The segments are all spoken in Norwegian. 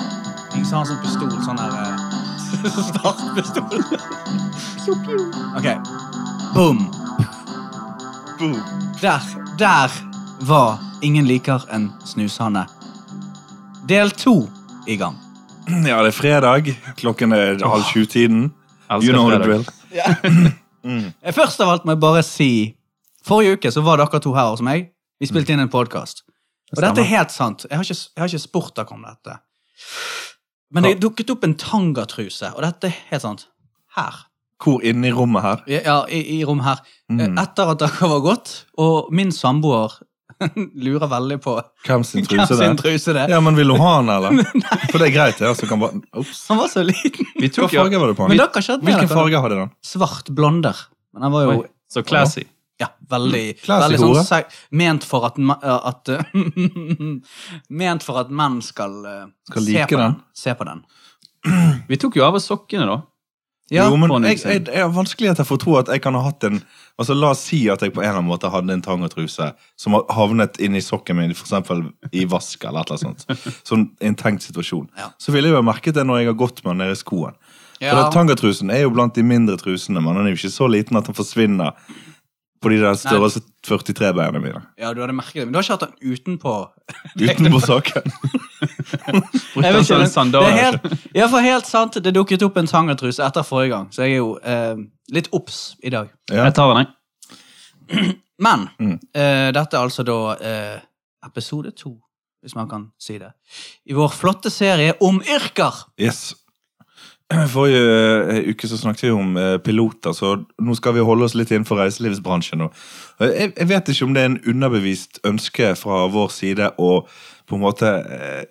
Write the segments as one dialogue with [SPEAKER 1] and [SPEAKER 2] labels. [SPEAKER 1] Så har han sånn pistol, sånn der eh, Startpistol. OK. Boom.
[SPEAKER 2] Boom.
[SPEAKER 1] Der, der var Ingen liker en snushanne. Del to i gang.
[SPEAKER 2] Ja, det er fredag. Klokken er halv sju-tiden.
[SPEAKER 3] Elsker
[SPEAKER 2] You know the
[SPEAKER 3] fredag.
[SPEAKER 2] drill. Mm.
[SPEAKER 1] Eh, Først av alt må jeg bare si Forrige uke så var dere to her hos meg. Vi spilte inn en podkast. Og
[SPEAKER 3] Stemmer.
[SPEAKER 1] dette er helt sant. Jeg har ikke, jeg har ikke spurt dere om dette. Men det dukket opp en tangatruse, og dette er helt sant. Her.
[SPEAKER 2] Hvor inne i rommet her?
[SPEAKER 1] Ja, i, i rom her. Eh,
[SPEAKER 2] Mm.
[SPEAKER 1] Etter at dere var gått, og min samboer lurer veldig på
[SPEAKER 2] Hvem sin
[SPEAKER 1] hvem
[SPEAKER 2] truse det
[SPEAKER 1] sin
[SPEAKER 2] er?
[SPEAKER 1] truse det er.
[SPEAKER 2] Ja, men vil du ha den, eller? For det er greit, det. Altså, kan bare... Ops.
[SPEAKER 1] Han var så liten.
[SPEAKER 3] Vi
[SPEAKER 2] Hva
[SPEAKER 3] tok jo
[SPEAKER 2] farge var det på
[SPEAKER 1] Men
[SPEAKER 2] den?
[SPEAKER 1] dere har ikke hatt med
[SPEAKER 2] Hvilken
[SPEAKER 1] dere
[SPEAKER 2] farge hadde den?
[SPEAKER 1] svart blonder. Men han var jo
[SPEAKER 3] Oi, Så classy.
[SPEAKER 1] Ja, veldig,
[SPEAKER 2] Classy
[SPEAKER 1] veldig sånn
[SPEAKER 2] hore.
[SPEAKER 1] seg, ment for at, ma- at eh, Ment for at menn skal, eh,
[SPEAKER 2] Skal like
[SPEAKER 1] se, på
[SPEAKER 2] den.
[SPEAKER 1] se på den.
[SPEAKER 3] Vi tok jo av oss sokkene, da.
[SPEAKER 1] Ja,
[SPEAKER 2] jo, men
[SPEAKER 3] på en
[SPEAKER 2] jeg,
[SPEAKER 3] utsiden.
[SPEAKER 2] jeg, jeg har vanskeligheter for å tro at jeg kan ha hatt en Altså, La oss si at jeg på en eller annen måte hadde en tangotruse som har havnet inni sokken min, for eksempel i vask eller et eller annet sånt. Sånn en tenkt situasjon.
[SPEAKER 1] Ja.
[SPEAKER 2] Så ville jeg jo ha merket det når jeg har gått med den nede i skoen. For
[SPEAKER 1] ja.
[SPEAKER 2] den tangatrusen er jo blant de mindre trusene, men den er jo ikke så liten at den forsvinner på de der størrelse 43-beina mine.
[SPEAKER 1] ja, du hadde merket det. Men du har ikke hatt den utenpå.
[SPEAKER 2] Utenpå saken.
[SPEAKER 1] Jeg vet ikke,
[SPEAKER 3] sånn
[SPEAKER 1] men
[SPEAKER 3] sandaler.
[SPEAKER 1] det er helt, ja, for helt sant, det dukket opp en tangatruse etter forrige gang, så jeg er jo eh, litt obs i dag.
[SPEAKER 2] Ja.
[SPEAKER 3] Jeg tar den, jeg.
[SPEAKER 1] Men
[SPEAKER 2] Mm.
[SPEAKER 1] eh, dette er altså da eh, episode to, hvis man kan si det, i vår flotte serie om yrker.
[SPEAKER 2] Yes. Forrige eh, uke så snakket vi om eh, piloter, så nå skal vi holde oss litt innenfor reiselivsbransjen. nå. Eh, Jeg, jeg vet ikke om det er en underbevist ønske fra vår side å på en måte eh,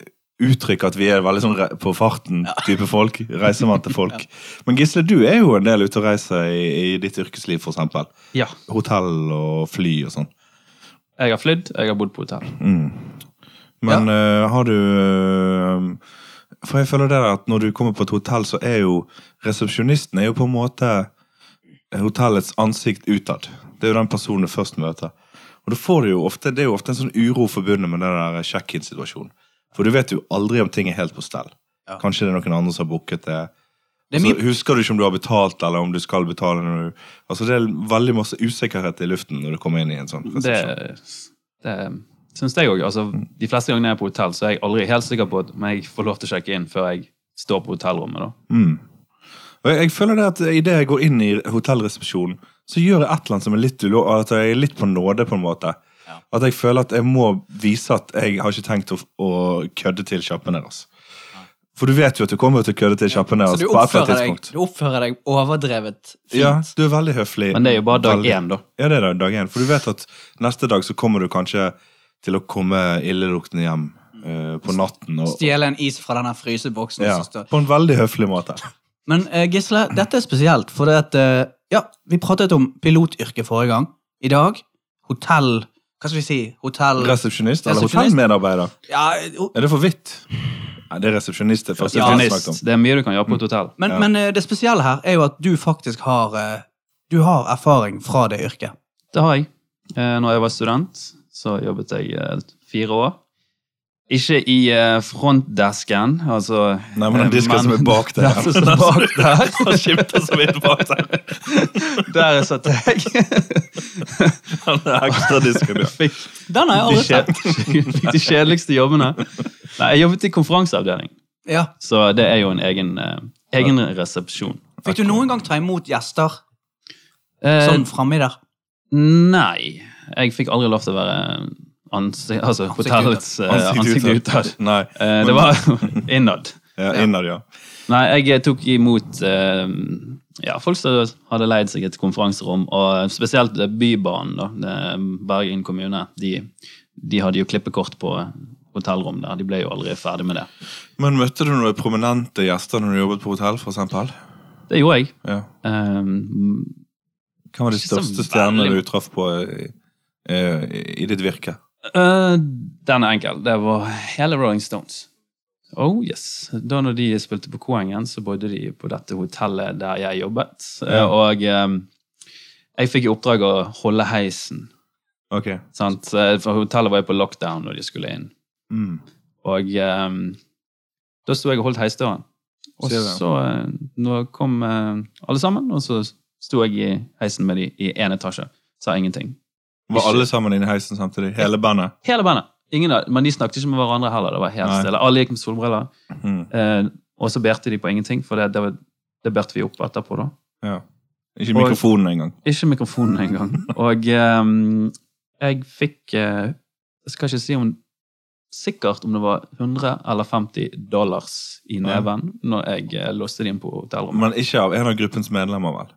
[SPEAKER 2] uttrykke at vi er veldig sånn re- på farten-type folk. Reisevante folk. Men Gisle, du er jo en del ute og reiser i, i ditt yrkesliv, for eksempel.
[SPEAKER 3] Ja.
[SPEAKER 2] Hotell og fly og sånn.
[SPEAKER 3] Jeg har flydd, jeg har bodd på hotell.
[SPEAKER 2] Mm. Men eh, har du eh, For jeg føler det at når du kommer på et hotell, så er jo resepsjonisten er jo på en måte hotellets ansikt utad. Det er jo den personen du først møter. Og da får du jo ofte, Det er jo ofte en sånn uro forbundet med den der check-in-situasjonen. For du vet jo aldri om ting er helt på stell.
[SPEAKER 1] Ja.
[SPEAKER 2] Kanskje det er noen andre som har booket det.
[SPEAKER 1] Det er
[SPEAKER 2] Altså,
[SPEAKER 1] mye-
[SPEAKER 2] husker du ikke om du har betalt, eller om du skal betale. Når du, altså Det er veldig masse usikkerhet i luften når du kommer inn i en sånn
[SPEAKER 3] Det,
[SPEAKER 2] resepsjon.
[SPEAKER 3] det eh, syns jeg òg. Altså, de fleste gangene jeg er på hotell, så er jeg aldri helt sikker på om jeg får lov til å sjekke inn før jeg står på hotellrommet. da.
[SPEAKER 2] Mm. Og jeg, jeg føler det at idet jeg går inn i hotellresepsjonen, så gjør jeg et eller annet som er litt ulo- At jeg er litt på nåde, på en måte.
[SPEAKER 1] Ja.
[SPEAKER 2] At jeg føler at jeg må vise at jeg har ikke tenkt å, å kødde til kjappen deres. For du vet jo at du kommer til å kødde til kjappen
[SPEAKER 1] Så
[SPEAKER 2] deres.
[SPEAKER 1] du
[SPEAKER 2] på et eller
[SPEAKER 1] oppfører,
[SPEAKER 2] annet
[SPEAKER 1] deg,
[SPEAKER 2] tidspunkt.
[SPEAKER 1] du oppfører deg overdrevet fint.
[SPEAKER 2] Ja, du er veldig høflig.
[SPEAKER 3] Men det er jo bare dag
[SPEAKER 2] Veldig-
[SPEAKER 3] én, da.
[SPEAKER 2] Ja, det er da dag én. For du vet at neste dag så kommer du kanskje til å komme illeluktende hjem eh, på natten. Og,
[SPEAKER 1] Stjele en is fra denne fryseboksen.
[SPEAKER 2] ja,
[SPEAKER 1] som står-
[SPEAKER 2] på en veldig høflig måte.
[SPEAKER 1] Men eh, Gisle, dette er spesielt, for det at eh, Ja, vi pratet om pilotyrket forrige gang. I dag hotell Hva skal vi si? Hotell
[SPEAKER 2] Resepsjonist eller
[SPEAKER 1] Resepsjonist.
[SPEAKER 2] hotellmedarbeider.
[SPEAKER 1] ja, ho-
[SPEAKER 2] Er det for vidt? Nei, det er resepsjonist. Det første
[SPEAKER 1] Ja,
[SPEAKER 2] vi
[SPEAKER 3] Resepsjonist.
[SPEAKER 2] snakket om.
[SPEAKER 3] Det er mye du kan gjøre på et hotell.
[SPEAKER 1] men,
[SPEAKER 2] Ja.
[SPEAKER 1] men eh, det spesielle her er jo at du faktisk har eh, Du har erfaring fra det yrket.
[SPEAKER 3] Det har jeg. Eh, Når jeg var student, så jobbet jeg eh, fire år. Ikke i eh, frontdesken, altså
[SPEAKER 2] Nei, men den
[SPEAKER 3] eh,
[SPEAKER 2] disken som er bak der.
[SPEAKER 3] Den som er bak der.
[SPEAKER 2] Han skimter så vidt bak der.
[SPEAKER 3] Der satt jeg.
[SPEAKER 2] Han er ekstra disken, ja.
[SPEAKER 3] Fikk
[SPEAKER 1] Den har jeg
[SPEAKER 3] de,
[SPEAKER 1] aldri sett.
[SPEAKER 3] kje- fikk de kjedeligste jobbene. Nei, jeg jobbet i konferanseavdeling,
[SPEAKER 1] Ja.
[SPEAKER 3] så det er jo en egen, eh, egen resepsjon.
[SPEAKER 1] Fikk du noen gang ta imot gjester
[SPEAKER 3] Eh,
[SPEAKER 1] sånn framme der?
[SPEAKER 3] Nei. Jeg fikk aldri lov til å være ansikt, altså,
[SPEAKER 1] Ansikt
[SPEAKER 3] hotellets eh, ansikt utad.
[SPEAKER 2] Nei,
[SPEAKER 3] Eh, Det var innad.
[SPEAKER 2] ja, innad, ja.
[SPEAKER 3] Nei, jeg tok imot eh, ja, folk som hadde leid seg et konferanserom, og spesielt Bybanen, da, det- Bergen kommune. De, de hadde jo klippekort på hotellrom der. De ble jo aldri ferdig med det.
[SPEAKER 2] Men møtte du noen prominente gjester når du jobbet på hotell, for eksempel?
[SPEAKER 3] Det gjorde jeg.
[SPEAKER 2] Ja.
[SPEAKER 3] Eh,
[SPEAKER 2] Hvem var de
[SPEAKER 3] Ikke så
[SPEAKER 2] største stjernene
[SPEAKER 3] veldig-
[SPEAKER 2] du traff på eh, eh, i ditt virke?
[SPEAKER 3] Eh, den er enkel. Det var hele Rolling Stones. Oh yes. Da når de spilte på Koengen, så bodde de på dette hotellet der jeg jobbet. Eh,
[SPEAKER 2] Ja.
[SPEAKER 3] Og eh, jeg fikk i oppdrag å holde heisen.
[SPEAKER 2] Ok.
[SPEAKER 3] Sant? Eh, For hotellet var jo på lockdown når de skulle inn.
[SPEAKER 2] Mm.
[SPEAKER 3] Og eh, Da sto jeg og holdt heisdøren. Og
[SPEAKER 2] Ser det.
[SPEAKER 3] så eh, nå kom eh, alle sammen, og så sto jeg i heisen med de i én etasje. Sa ingenting.
[SPEAKER 2] Var alle sammen inne i heisen samtidig? Hele bandet?
[SPEAKER 3] Hele bandet. Ingen av, men de snakket ikke med hverandre heller. det var helt
[SPEAKER 2] Nei.
[SPEAKER 3] stille. Alle gikk med solbriller.
[SPEAKER 2] Mm,
[SPEAKER 3] Eh, og så bærte de på ingenting, for det, det, var, det bærte vi opp etterpå. da.
[SPEAKER 2] ja. Ikke
[SPEAKER 3] Og-
[SPEAKER 2] mikrofonen engang.
[SPEAKER 3] Ikke mikrofonen engang. Og eh, jeg fikk eh, Jeg skal ikke si om sikkert om det var 100 eller 50 dollars i neven når jeg eh, låste de inn på hotellrommet.
[SPEAKER 2] Men ikke av en av gruppens medlemmer, vel?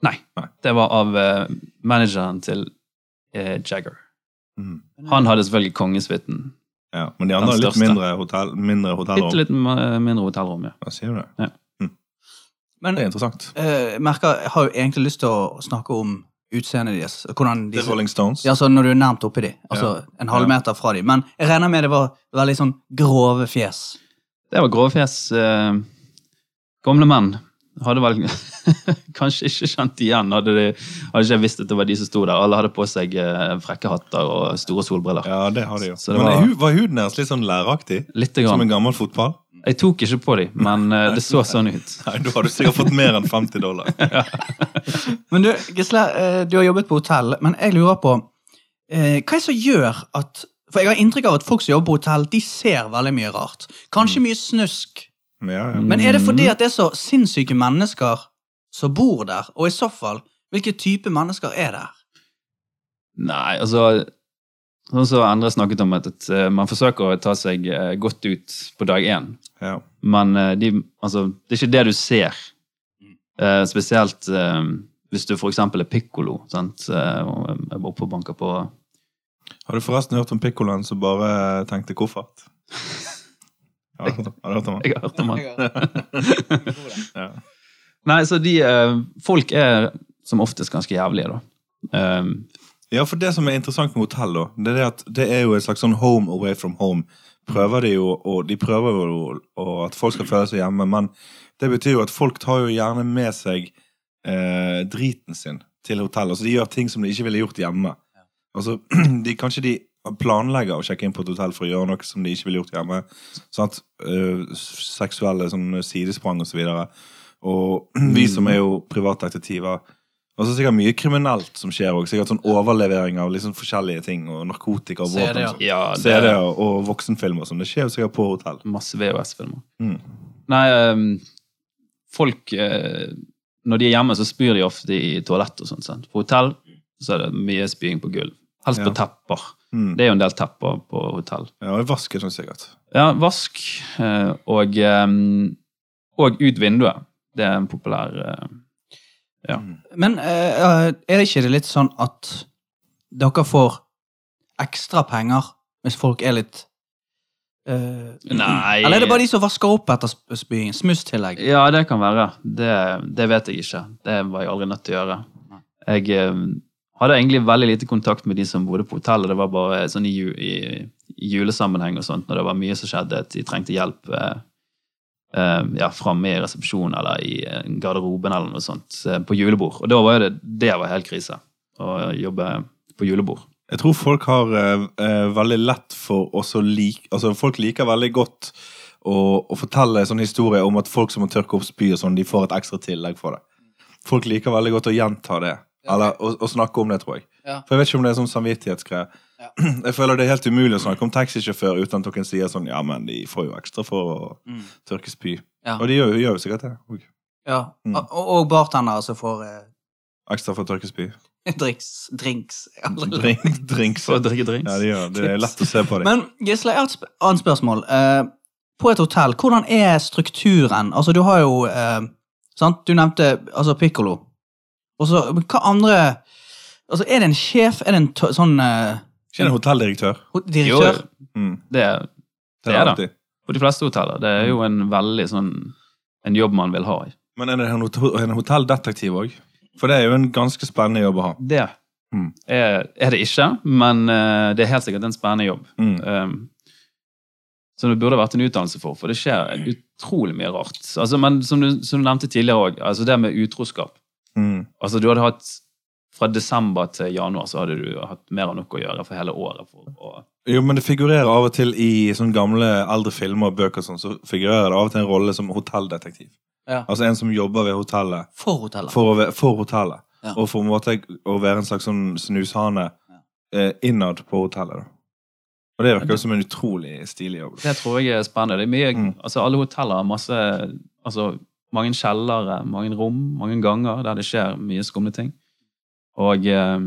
[SPEAKER 3] Nei.
[SPEAKER 2] Nei.
[SPEAKER 3] Det var av eh, manageren til eh, Jagger.
[SPEAKER 2] Mm.
[SPEAKER 3] Han hadde selvfølgelig kongesuiten.
[SPEAKER 2] Ja. Men de andre er litt
[SPEAKER 3] største.
[SPEAKER 2] mindre, hotell, mindre
[SPEAKER 3] Bitte
[SPEAKER 2] hotellrom.
[SPEAKER 3] litt ma- mindre hotellrom, ja.
[SPEAKER 2] Ja, sier du det? Hm.
[SPEAKER 1] Men
[SPEAKER 2] Det er interessant.
[SPEAKER 1] eh, jeg merker, jeg har jo egentlig lyst til å snakke om utseendet deres. og Hvordan
[SPEAKER 2] Det
[SPEAKER 1] de
[SPEAKER 2] er Rolling Stones.
[SPEAKER 1] Ja, altså Når du er nærmt oppi de, altså en halv
[SPEAKER 2] Ja.
[SPEAKER 1] meter fra de. Men jeg regner med det var veldig sånn grove fjes.
[SPEAKER 3] Det var gråfjes. Eh, gamle menn hadde vel kanskje ikke kjent igjen, hadde, de, hadde ikke jeg visst at det var de som sto der. Alle hadde på seg eh, frekke hatter og store solbriller.
[SPEAKER 2] Ja, det har de jo.
[SPEAKER 3] Så det
[SPEAKER 2] Men
[SPEAKER 3] var-
[SPEAKER 2] hu- var huden deres litt sånn læraktig?
[SPEAKER 3] Litt
[SPEAKER 2] Som
[SPEAKER 3] grann.
[SPEAKER 2] en gammel fotball?
[SPEAKER 3] Jeg tok ikke på dem, men eh, det så sånn ut.
[SPEAKER 2] Nei, da har du sikkert fått mer enn 50 dollar.
[SPEAKER 1] Men du, Gisle, eh, du har jobbet på hotell, men jeg lurer på eh, Hva er det som gjør at For jeg har inntrykk av at folk som jobber på hotell, de ser veldig mye rart.
[SPEAKER 2] Mm.
[SPEAKER 1] Kanskje mye snusk.
[SPEAKER 2] Men ja, ja.
[SPEAKER 1] Men er det
[SPEAKER 3] Mm.
[SPEAKER 1] fordi at det er så sinnssyke mennesker som bor der? Og i så fall, hvilke type mennesker er der?
[SPEAKER 3] Nei, altså Sånn som Endre snakket om, at, at eh, man forsøker å ta seg eh, godt ut på dag én.
[SPEAKER 2] ja.
[SPEAKER 3] Men eh, de, altså, det er ikke det du ser. Eh, spesielt eh, hvis du for eksempel er pikkolo. Sant? Eh, og er oppe og banker på
[SPEAKER 2] Har du forresten hørt om pikkoloen som bare tenkte koffert? Har du hørt om- har du hørt om han?
[SPEAKER 3] Jeg har hørt om han.
[SPEAKER 2] Ja.
[SPEAKER 3] Nei, så de eh, Folk er som oftest ganske jævlige, da. Eh,
[SPEAKER 2] Ja, for det som er interessant med hotell, da, det er det at det er jo et slags sånn home away from home. Prøver de jo, og de prøver jo og at folk skal føle seg hjemme, men det betyr jo at folk tar jo gjerne med seg eh, driten sin til hotellet. Altså, de gjør ting som de ikke ville gjort hjemme. Altså, de, kanskje de planlegger å sjekke inn på et hotell for å gjøre noe som de ikke ville gjort hjemme. Sånn at eh, seksuelle sånn, sidesprang og så videre. Og vi som er jo privatdetektiver Og så sikkert mye kriminelt som skjer også. Sikkert sånn overlevering av liksom forskjellige ting. Og narkotika og
[SPEAKER 1] CD,
[SPEAKER 2] våpen.
[SPEAKER 1] ja.
[SPEAKER 2] og sånn.
[SPEAKER 3] ja, det
[SPEAKER 2] CD
[SPEAKER 3] er
[SPEAKER 2] og, og voksenfilmer og sånn. Det skjer jo sikkert på hotell.
[SPEAKER 3] masse VHS-filmer.
[SPEAKER 2] Mm.
[SPEAKER 3] Nei, eh, folk eh, Når de er hjemme, så spyr de ofte i toalett og sånt. Sant? På hotell så er det mye spying på gulv. Helst på
[SPEAKER 2] Ja.
[SPEAKER 3] tepper.
[SPEAKER 2] Mm.
[SPEAKER 3] Det er jo en del tepper på hotell.
[SPEAKER 2] Ja, og vask er sånn sikkert.
[SPEAKER 3] Ja, vask eh, og, eh, og ut vinduet. Det er en populær eh,
[SPEAKER 2] Mm.
[SPEAKER 1] Men eh, eh, er det ikke det litt sånn at dere får ekstra penger hvis folk er litt eh,
[SPEAKER 3] Nei.
[SPEAKER 1] Eller er det bare de som vasker opp etter sp- spying? Smusstillegg?
[SPEAKER 3] Ja, det kan være. Det, det vet jeg ikke. Det var jeg aldri nødt til å gjøre. Jeg eh, hadde egentlig veldig lite kontakt med de som bodde på hotellet. Det var bare sånn i, ju, i, i julesammenheng og sånt, når det var mye som skjedde, at de trengte hjelp eh, eh, ja, framme i resepsjonen eller i eh, garderoben eller noe sånt eh, på julebord. Og da var jo det, det var helt krise å jobbe på julebord.
[SPEAKER 2] Jeg tror folk har eh, eh, veldig lett for også like Altså, folk liker veldig godt å, å fortelle sånne historier om at folk som må tørke opp spy og sånn, de får et ekstra tillegg for det. Folk liker veldig godt å gjenta det. Eller å, å snakke om det, tror jeg.
[SPEAKER 1] Ja.
[SPEAKER 2] For jeg vet ikke om det er sånn samvittighetsgreie.
[SPEAKER 1] Ja.
[SPEAKER 2] Jeg føler det er helt umulig å snakke om taxisjåfør uten at noen sier sånn Ja, men de får jo ekstra for å
[SPEAKER 1] Mm.
[SPEAKER 2] tørke spy.
[SPEAKER 1] Ja.
[SPEAKER 2] Og de gjør, jo- gjør jo sikkert det. Og
[SPEAKER 1] Ja.
[SPEAKER 2] Mm.
[SPEAKER 1] Og, og bartendere som får eh,
[SPEAKER 2] Ekstra for å tørke spy.
[SPEAKER 1] drinks. drinks. Jeg har aldri-
[SPEAKER 2] Drink, drinks.
[SPEAKER 3] For å drikke drinks.
[SPEAKER 2] Ja, de gjør. det. Det er lett å se på dem.
[SPEAKER 1] Men Gisle, jeg har et sp annet spørsmål. Eh, på et hotell, hvordan er strukturen? Altså, du har jo eh, sant? Du nevnte altså, pikkolo. Og så, men hva andre Altså, er det en sjef? Er det en to- sånn eh,
[SPEAKER 2] Ikke en hotelldirektør.
[SPEAKER 1] ho- direktør?
[SPEAKER 3] Jo,
[SPEAKER 2] Mm.
[SPEAKER 3] det er Det er det.
[SPEAKER 2] alltid.
[SPEAKER 3] på de fleste hoteller. Det er jo en veldig sånn en jobb man vil ha i.
[SPEAKER 2] Men er det en, hot- en hotelldetektiv òg? For det er jo en ganske spennende jobb å ha.
[SPEAKER 3] Det
[SPEAKER 2] Mm.
[SPEAKER 3] er, er det ikke, men eh, det er helt sikkert en spennende jobb.
[SPEAKER 2] Mm.
[SPEAKER 3] Um, som det burde vært en utdannelse for, for det skjer utrolig mye rart. Altså, men som du, som du nevnte tidligere òg, altså det med utroskap.
[SPEAKER 2] Mm.
[SPEAKER 3] Altså, du hadde hatt fra desember til januar så hadde du hatt mer enn nok å gjøre for hele året. For, å-
[SPEAKER 2] Jo, men det figurerer av og til i sånne gamle eldre filmer og bøker og sånn, så figurerer det av og til en rolle som hotelldetektiv.
[SPEAKER 1] Ja.
[SPEAKER 2] Altså en som jobber ved hotellet
[SPEAKER 1] For hotellet.
[SPEAKER 2] for, å, ve- for hotellet.
[SPEAKER 1] Ja.
[SPEAKER 2] Og for en måte å være en slags sånn snushane eh, innad på hotellet. Da. Og det virker jo som en utrolig stilig jobb.
[SPEAKER 3] det tror jeg er spennende. Det er mye,
[SPEAKER 2] Mm.
[SPEAKER 3] altså, alle hoteller har masse altså, Mange kjellere, mange rom, mange ganger der det skjer mye skumle ting. Og eh,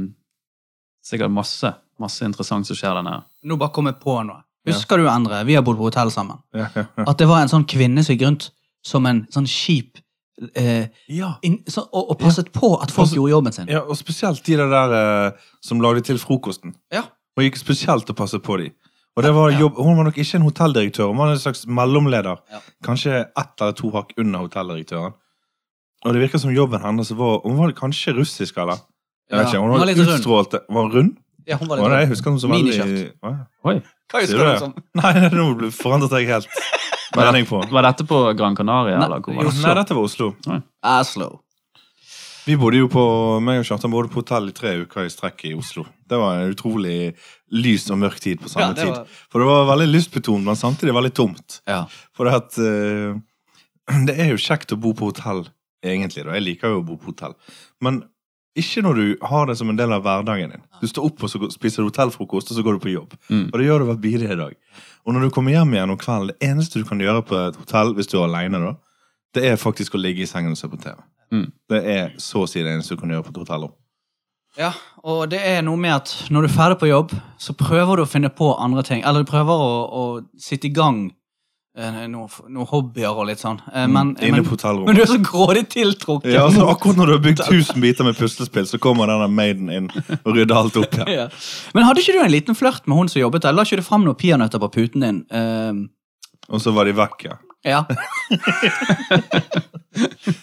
[SPEAKER 3] sikkert masse masse interessant som skjer der nede.
[SPEAKER 1] Nå bare kom jeg på noe. Husker du, Endre, vi har bodd på hotell sammen,
[SPEAKER 2] Ja,
[SPEAKER 1] at det var en sånn kvinne som gikk rundt som en sånn kjip eh,
[SPEAKER 2] ja.
[SPEAKER 1] inn, så, og, og passet på at folk
[SPEAKER 2] Altså-
[SPEAKER 1] gjorde jobben sin.
[SPEAKER 2] ja og spesielt de der eh, som lagde til frokosten.
[SPEAKER 1] Ja.
[SPEAKER 2] Hun gikk spesielt og passet på de. Og det var jobb, Hun var nok ikke en hotelldirektør, hun var en slags mellomleder.
[SPEAKER 1] Ja.
[SPEAKER 2] Kanskje ett eller to hakk under hotelldirektøren. Og det virker som jobben hennes var Hun var kanskje russisk, eller? Jeg vet
[SPEAKER 1] Ja,
[SPEAKER 2] ikke,
[SPEAKER 1] hun var
[SPEAKER 2] Hun var
[SPEAKER 1] litt rund.
[SPEAKER 2] utstrålte Var hun rund?
[SPEAKER 1] Ja, hun var litt
[SPEAKER 2] Var det, jeg husker hun som veldig
[SPEAKER 1] Miniskjørt.
[SPEAKER 2] Hva?
[SPEAKER 3] Oi,
[SPEAKER 1] Hva
[SPEAKER 2] Sier
[SPEAKER 1] husker
[SPEAKER 2] du
[SPEAKER 1] du
[SPEAKER 2] det?
[SPEAKER 1] som?
[SPEAKER 2] Nei, nei, nå ble- forandret jeg helt mening på.
[SPEAKER 3] Var dette på Gran Canaria?
[SPEAKER 1] Nei,
[SPEAKER 3] eller hvor var det?
[SPEAKER 2] Nei, dette var Oslo.
[SPEAKER 1] Aslo.
[SPEAKER 2] Vi bodde jo på meg og Kjartan bodde på hotell i tre uker i strekk i Oslo. Det var en utrolig lys og mørk tid på samme
[SPEAKER 1] Ja, det var-
[SPEAKER 2] tid. For det var veldig lystbetont, men samtidig veldig tomt.
[SPEAKER 1] Ja.
[SPEAKER 2] For det, at, eh, det er jo kjekt å bo på hotell, egentlig. Da. Jeg liker jo å bo på hotell. Men ikke når du har det som en del av hverdagen din. Du står opp og så går- spiser hotellfrokost, og så går du på jobb.
[SPEAKER 3] Mm.
[SPEAKER 2] Og det gjør du hver bidige dag. Og når du kommer hjem igjen om kvelden, det eneste du kan gjøre på et hotell, hvis du er alene, da, det er faktisk å ligge i sengen og se på TV.
[SPEAKER 3] Mm.
[SPEAKER 2] Det er så å si det eneste du kan gjøre på et hotell. også.
[SPEAKER 1] Ja, og det er noe med at når du er ferdig på jobb, så prøver du å finne på andre ting. Eller du prøver å, å sitte i gang eh, noen noe hobbyer og litt sånn. Eh, men,
[SPEAKER 2] Inne
[SPEAKER 1] men,
[SPEAKER 2] på hotellrommet.
[SPEAKER 1] men du er så grådig tiltrukket.
[SPEAKER 2] Mm, Ja, altså, akkurat når du har bygd tusen biter med puslespill, så kommer denne maiden inn og rydder alt opp igjen.
[SPEAKER 1] Ja. Men hadde ikke du en liten flørt med hun som jobbet der? La ikke du fram noen peanøtter på puten din? Eh,
[SPEAKER 2] Og så var de vekk, ja.
[SPEAKER 1] ja.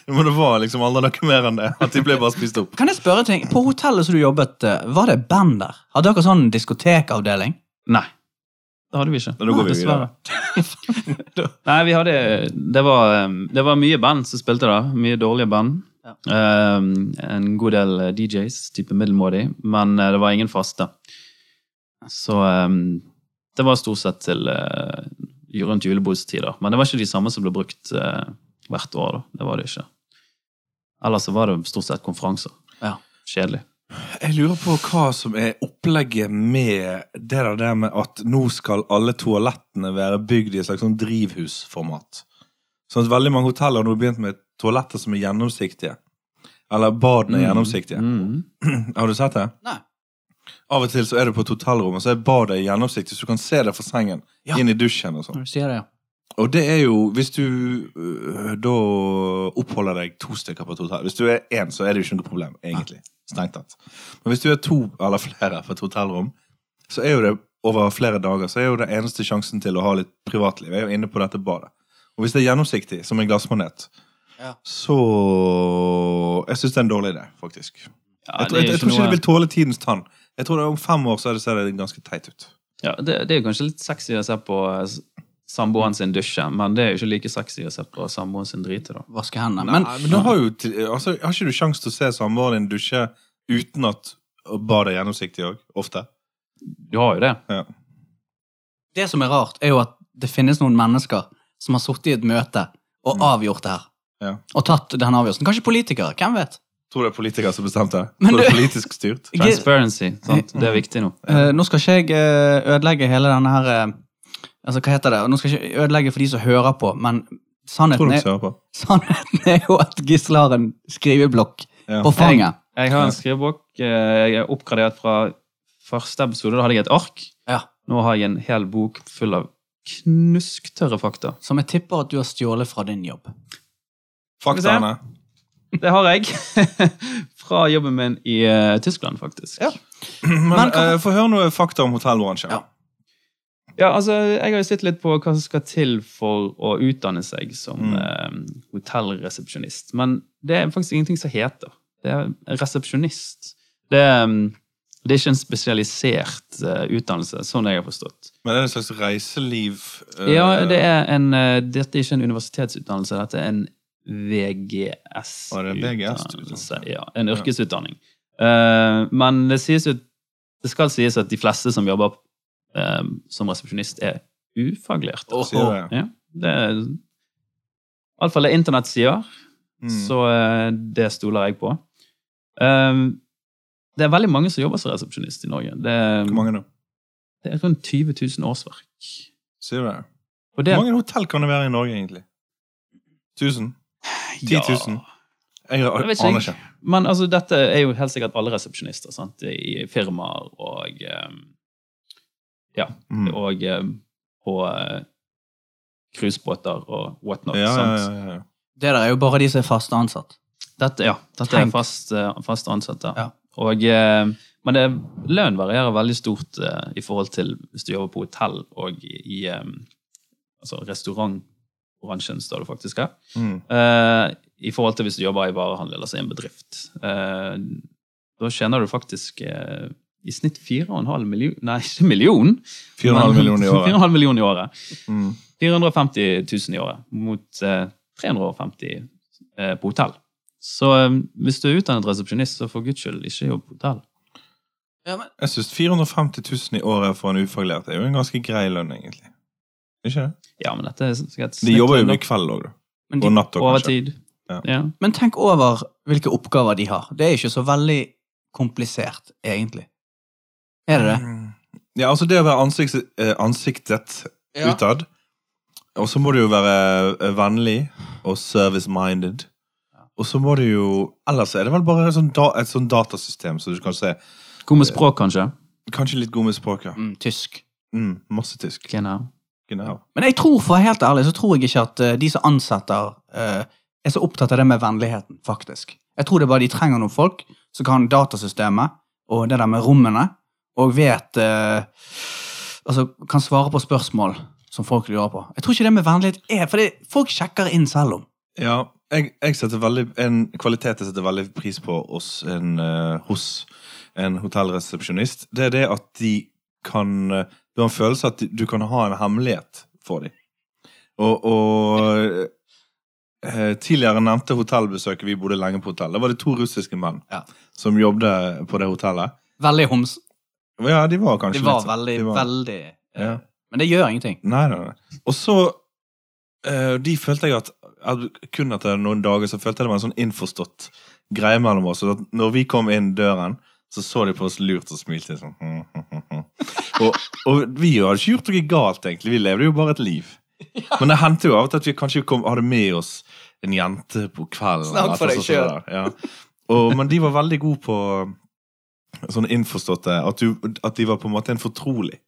[SPEAKER 2] Men det var liksom aldri noe mer enn det. At de ble bare spist opp.
[SPEAKER 1] Kan jeg spørre en ting? På hotellet som du jobbet, eh, var det band der? Hadde dere sånn diskotekavdeling?
[SPEAKER 3] Nei. Det hadde vi ikke.
[SPEAKER 2] Da går vi videre.
[SPEAKER 3] Dessverre. Nei, vi hadde det var, um, det var mye band som spilte da. Mye dårlige band.
[SPEAKER 1] Ja.
[SPEAKER 3] Um, en god del eh, DJs, type middelmådig, men eh, det var ingen faste. Så um, det var stort sett til eh, rundt julebordstider. Men det var ikke de samme som ble brukt eh, hvert år, da. Det var det ikke. Ellers så var det stort sett konferanser.
[SPEAKER 1] Ja.
[SPEAKER 3] Kjedelig.
[SPEAKER 2] Jeg lurer på hva som er opplegget med det der, det med at nå skal alle toalettene være bygd i et slags sånn drivhusformat. Sånn at veldig mange hotell har nå begynt med toaletter som er gjennomsiktige. Eller badene er gjennomsiktige.
[SPEAKER 3] Mm.
[SPEAKER 2] Har du sett det?
[SPEAKER 1] Nei.
[SPEAKER 2] Av og til så er du på et hotellrom, og så er badet gjennomsiktig, så du kan se det fra sengen.
[SPEAKER 1] Ja.
[SPEAKER 2] Inn i dusjen og sånn.
[SPEAKER 1] Når du sier det, ja.
[SPEAKER 2] Og det er jo Hvis du øh, da oppholder deg to stykker på et hotell Hvis du er én, så er det jo ikke noe problem, egentlig. Strengt tatt. Men hvis du er to eller flere på et hotellrom, så er jo det over flere dager så er jo det eneste sjansen til å ha litt privatliv. Jeg er jo inne på dette badet. Og hvis det er gjennomsiktig, som en glassmanet,
[SPEAKER 1] Ja.
[SPEAKER 2] så Jeg syns det er en dårlig idé, faktisk.
[SPEAKER 3] Ja,
[SPEAKER 2] jeg,
[SPEAKER 3] det
[SPEAKER 2] tror-
[SPEAKER 3] er
[SPEAKER 2] jeg, jeg tror ikke
[SPEAKER 3] noe-
[SPEAKER 2] det vil tåle tidens tann. Jeg tror det Om fem år så er det, ser det ganske teit ut.
[SPEAKER 3] Ja, det, det er jo kanskje litt sexy å se på eh, s- samboeren sin dusje, men det er jo ikke like sexy å se på samboeren sin drite, da.
[SPEAKER 1] Vaske hendene.
[SPEAKER 2] Nei,
[SPEAKER 1] Men,
[SPEAKER 2] men, du har jo til- altså, Har ikke du sjanse til å se samboeren din dusje uten at badet er gjennomsiktig òg? Ofte.
[SPEAKER 3] Du har jo det.
[SPEAKER 2] Ja.
[SPEAKER 1] Det som er rart, er jo at det finnes noen mennesker som har sittet i et møte og
[SPEAKER 2] Mm.
[SPEAKER 1] avgjort det her.
[SPEAKER 2] Ja.
[SPEAKER 1] Og tatt den avgjørelsen. Kanskje politikere. Hvem vet?
[SPEAKER 2] Tror det er politikere som bestemte det?
[SPEAKER 1] Men
[SPEAKER 2] Tror det er
[SPEAKER 1] du-
[SPEAKER 2] politisk styrt?
[SPEAKER 1] G-
[SPEAKER 3] Transparency. Sant? Det er viktig nå.
[SPEAKER 1] Eh, nå skal ikke jeg eh, ødelegge hele denne her eh, Altså, hva heter det? Nå skal jeg ikke ødelegge for de som hører på, men
[SPEAKER 2] Tror
[SPEAKER 1] sannheten
[SPEAKER 2] du de
[SPEAKER 1] er,
[SPEAKER 2] hører på?
[SPEAKER 1] sannheten er jo at Gisle har en skriveblokk
[SPEAKER 2] Ja.
[SPEAKER 1] på fanget.
[SPEAKER 3] Jeg har en skrivebok. eh, Jeg er oppgradert fra første episode. Da hadde jeg et ark.
[SPEAKER 1] Ja.
[SPEAKER 3] Nå har jeg en hel bok full av knusktørre fakta.
[SPEAKER 1] Som jeg tipper at du har stjålet fra din jobb.
[SPEAKER 2] Faktaene.
[SPEAKER 3] Det har jeg. Fra jobben min i eh, Tyskland, faktisk.
[SPEAKER 1] Ja.
[SPEAKER 2] Men,
[SPEAKER 1] Men kan-
[SPEAKER 2] eh, få høre noe fakta om hotellbransjen.
[SPEAKER 1] Ja.
[SPEAKER 3] Ja, altså, Jeg har jo sett litt på hva som skal til for å utdanne seg som
[SPEAKER 2] Mm.
[SPEAKER 3] eh, hotellresepsjonist. Men det er faktisk ingenting som heter. Det er resepsjonist. Det, er, mm, det er ikke en spesialisert eh, utdannelse, sånn jeg har forstått.
[SPEAKER 2] Men det er en slags reiseliv eh,
[SPEAKER 3] Ja, det er en, eh, Dette er ikke en universitetsutdannelse, dette er en
[SPEAKER 2] Var det VGS-utdannelse?
[SPEAKER 3] VGS-utdannelse. Ja, En
[SPEAKER 2] Ja.
[SPEAKER 3] yrkesutdanning. Eh, men det, sies jo, det skal sies at de fleste som jobber eh, som resepsjonist, er ufaglærte.
[SPEAKER 2] Sier det.
[SPEAKER 3] Ja, det er Iallfall det internett sier,
[SPEAKER 2] Mm.
[SPEAKER 3] så eh, det stoler jeg på. Ehm, det er veldig mange som jobber som resepsjonist i Norge. Det,
[SPEAKER 2] Hvor mange nå?
[SPEAKER 3] det er rundt 20 000 årsverk.
[SPEAKER 2] Sier du det?
[SPEAKER 3] Og det,
[SPEAKER 2] Hvor mange hotell kan det være i Norge, egentlig? 1000? 10 000? Jeg
[SPEAKER 3] Jeg
[SPEAKER 2] aner
[SPEAKER 3] vet
[SPEAKER 2] ikke.
[SPEAKER 3] ikke. Men altså, dette er jo helt sikkert alle resepsjonister sant? i firmaer og ehm,
[SPEAKER 2] Mm.
[SPEAKER 3] og ehm, på eh, cruisebåter og whatnot.
[SPEAKER 2] Ja, ja,
[SPEAKER 3] sant?
[SPEAKER 2] ja, ja.
[SPEAKER 1] Det der er jo bare de som er fast ansatt.
[SPEAKER 3] Dette, ja, dette
[SPEAKER 1] Tenk.
[SPEAKER 3] er fast, eh, fast ansatte.
[SPEAKER 1] Ja.
[SPEAKER 3] Og, eh, men det, lønn varierer veldig stort eh, i forhold til hvis du jobber på hotell og i, i eh, altså restaurantbransjen, står det faktisk her.
[SPEAKER 2] Mm.
[SPEAKER 3] Eh, I forhold til hvis du jobber i varehandel, altså i en bedrift. Eh, da tjener du faktisk eh, i snitt 4,5 million, nei, ikke million,
[SPEAKER 2] 4,5 millioner i året.
[SPEAKER 3] 4,5 millioner i året.
[SPEAKER 2] Mm.
[SPEAKER 3] 450 000 i året mot eh, 350 eh, på hotell. Så eh, hvis du er utdannet resepsjonist, så for guds skyld ikke jobb på hotell.
[SPEAKER 2] Jeg syns 450 000 i året for en ufaglært er jo en ganske grei lønn, egentlig. Ikke det?
[SPEAKER 3] Ja, men dette er sikkert
[SPEAKER 2] De jobber jo mye kveld òg, da.
[SPEAKER 1] Men,
[SPEAKER 2] Og
[SPEAKER 1] de,
[SPEAKER 2] natt òg, kanskje.
[SPEAKER 3] overtid.
[SPEAKER 2] Ja.
[SPEAKER 3] Ja.
[SPEAKER 1] men tenk over hvilke oppgaver de har. Det er ikke så veldig komplisert, egentlig. Er det det?
[SPEAKER 2] Mm. Ja, altså det å være ansikts, eh, ansiktet utad. Og så må du jo være eh, vennlig og service-minded. Og så må du jo Ellers er det vel bare sånn da, et sånn datasystem, så du kan se
[SPEAKER 3] God med språk, kanskje.
[SPEAKER 2] Kanskje litt god med språket.
[SPEAKER 1] Mm, tysk.
[SPEAKER 2] Mm, masse tysk.
[SPEAKER 3] Okay, nå.
[SPEAKER 2] Genau.
[SPEAKER 1] Men jeg tror, for å være helt ærlig, så tror jeg ikke at eh, de som ansetter, eh, er så opptatt av det med vennligheten, faktisk. Jeg tror det er bare de trenger noen folk som kan datasystemet og det der med rommene, og vet eh, Altså kan svare på spørsmål som folk lurer på. Jeg tror ikke det med vennlighet er For det, folk sjekker inn selv om.
[SPEAKER 2] Ja, jeg, jeg setter veldig En kvalitet jeg setter veldig pris på hos en, eh, hos en hotellresepsjonist, det er det at de kan eh, Du har en følelse at de- du kan ha en hemmelighet for dem. Og, og eh, Tidligere nevnte hotellbesøket vi bodde lenge på hotell. Da var det to russiske menn
[SPEAKER 1] Ja.
[SPEAKER 2] som jobbet på det hotellet.
[SPEAKER 1] Veldig homs.
[SPEAKER 2] Ja, de var kanskje
[SPEAKER 1] De var
[SPEAKER 2] litt sånn.
[SPEAKER 1] veldig,
[SPEAKER 2] De var-
[SPEAKER 1] veldig eh,
[SPEAKER 2] Ja.
[SPEAKER 1] Men det gjør ingenting.
[SPEAKER 2] Nei, nei, nei. Og så eh, De følte jeg at, at kun etter noen dager så følte jeg det var en sånn innforstått greie mellom oss. og At når vi kom inn døren, så så de på oss lurt og smilte sånn. «Hm, hm, hm, hm». Og, og vi hadde ikke gjort noe galt, egentlig. Vi levde jo bare et liv. Men det hendte jo av og til at vi kanskje kom, hadde med oss en jente på kvelden.
[SPEAKER 1] Snakk for
[SPEAKER 2] eller
[SPEAKER 1] deg
[SPEAKER 2] sånn som det der, Ja. Og, men de var veldig gode på sånn innforståtte at, du, at de var på en måte en fortrolig.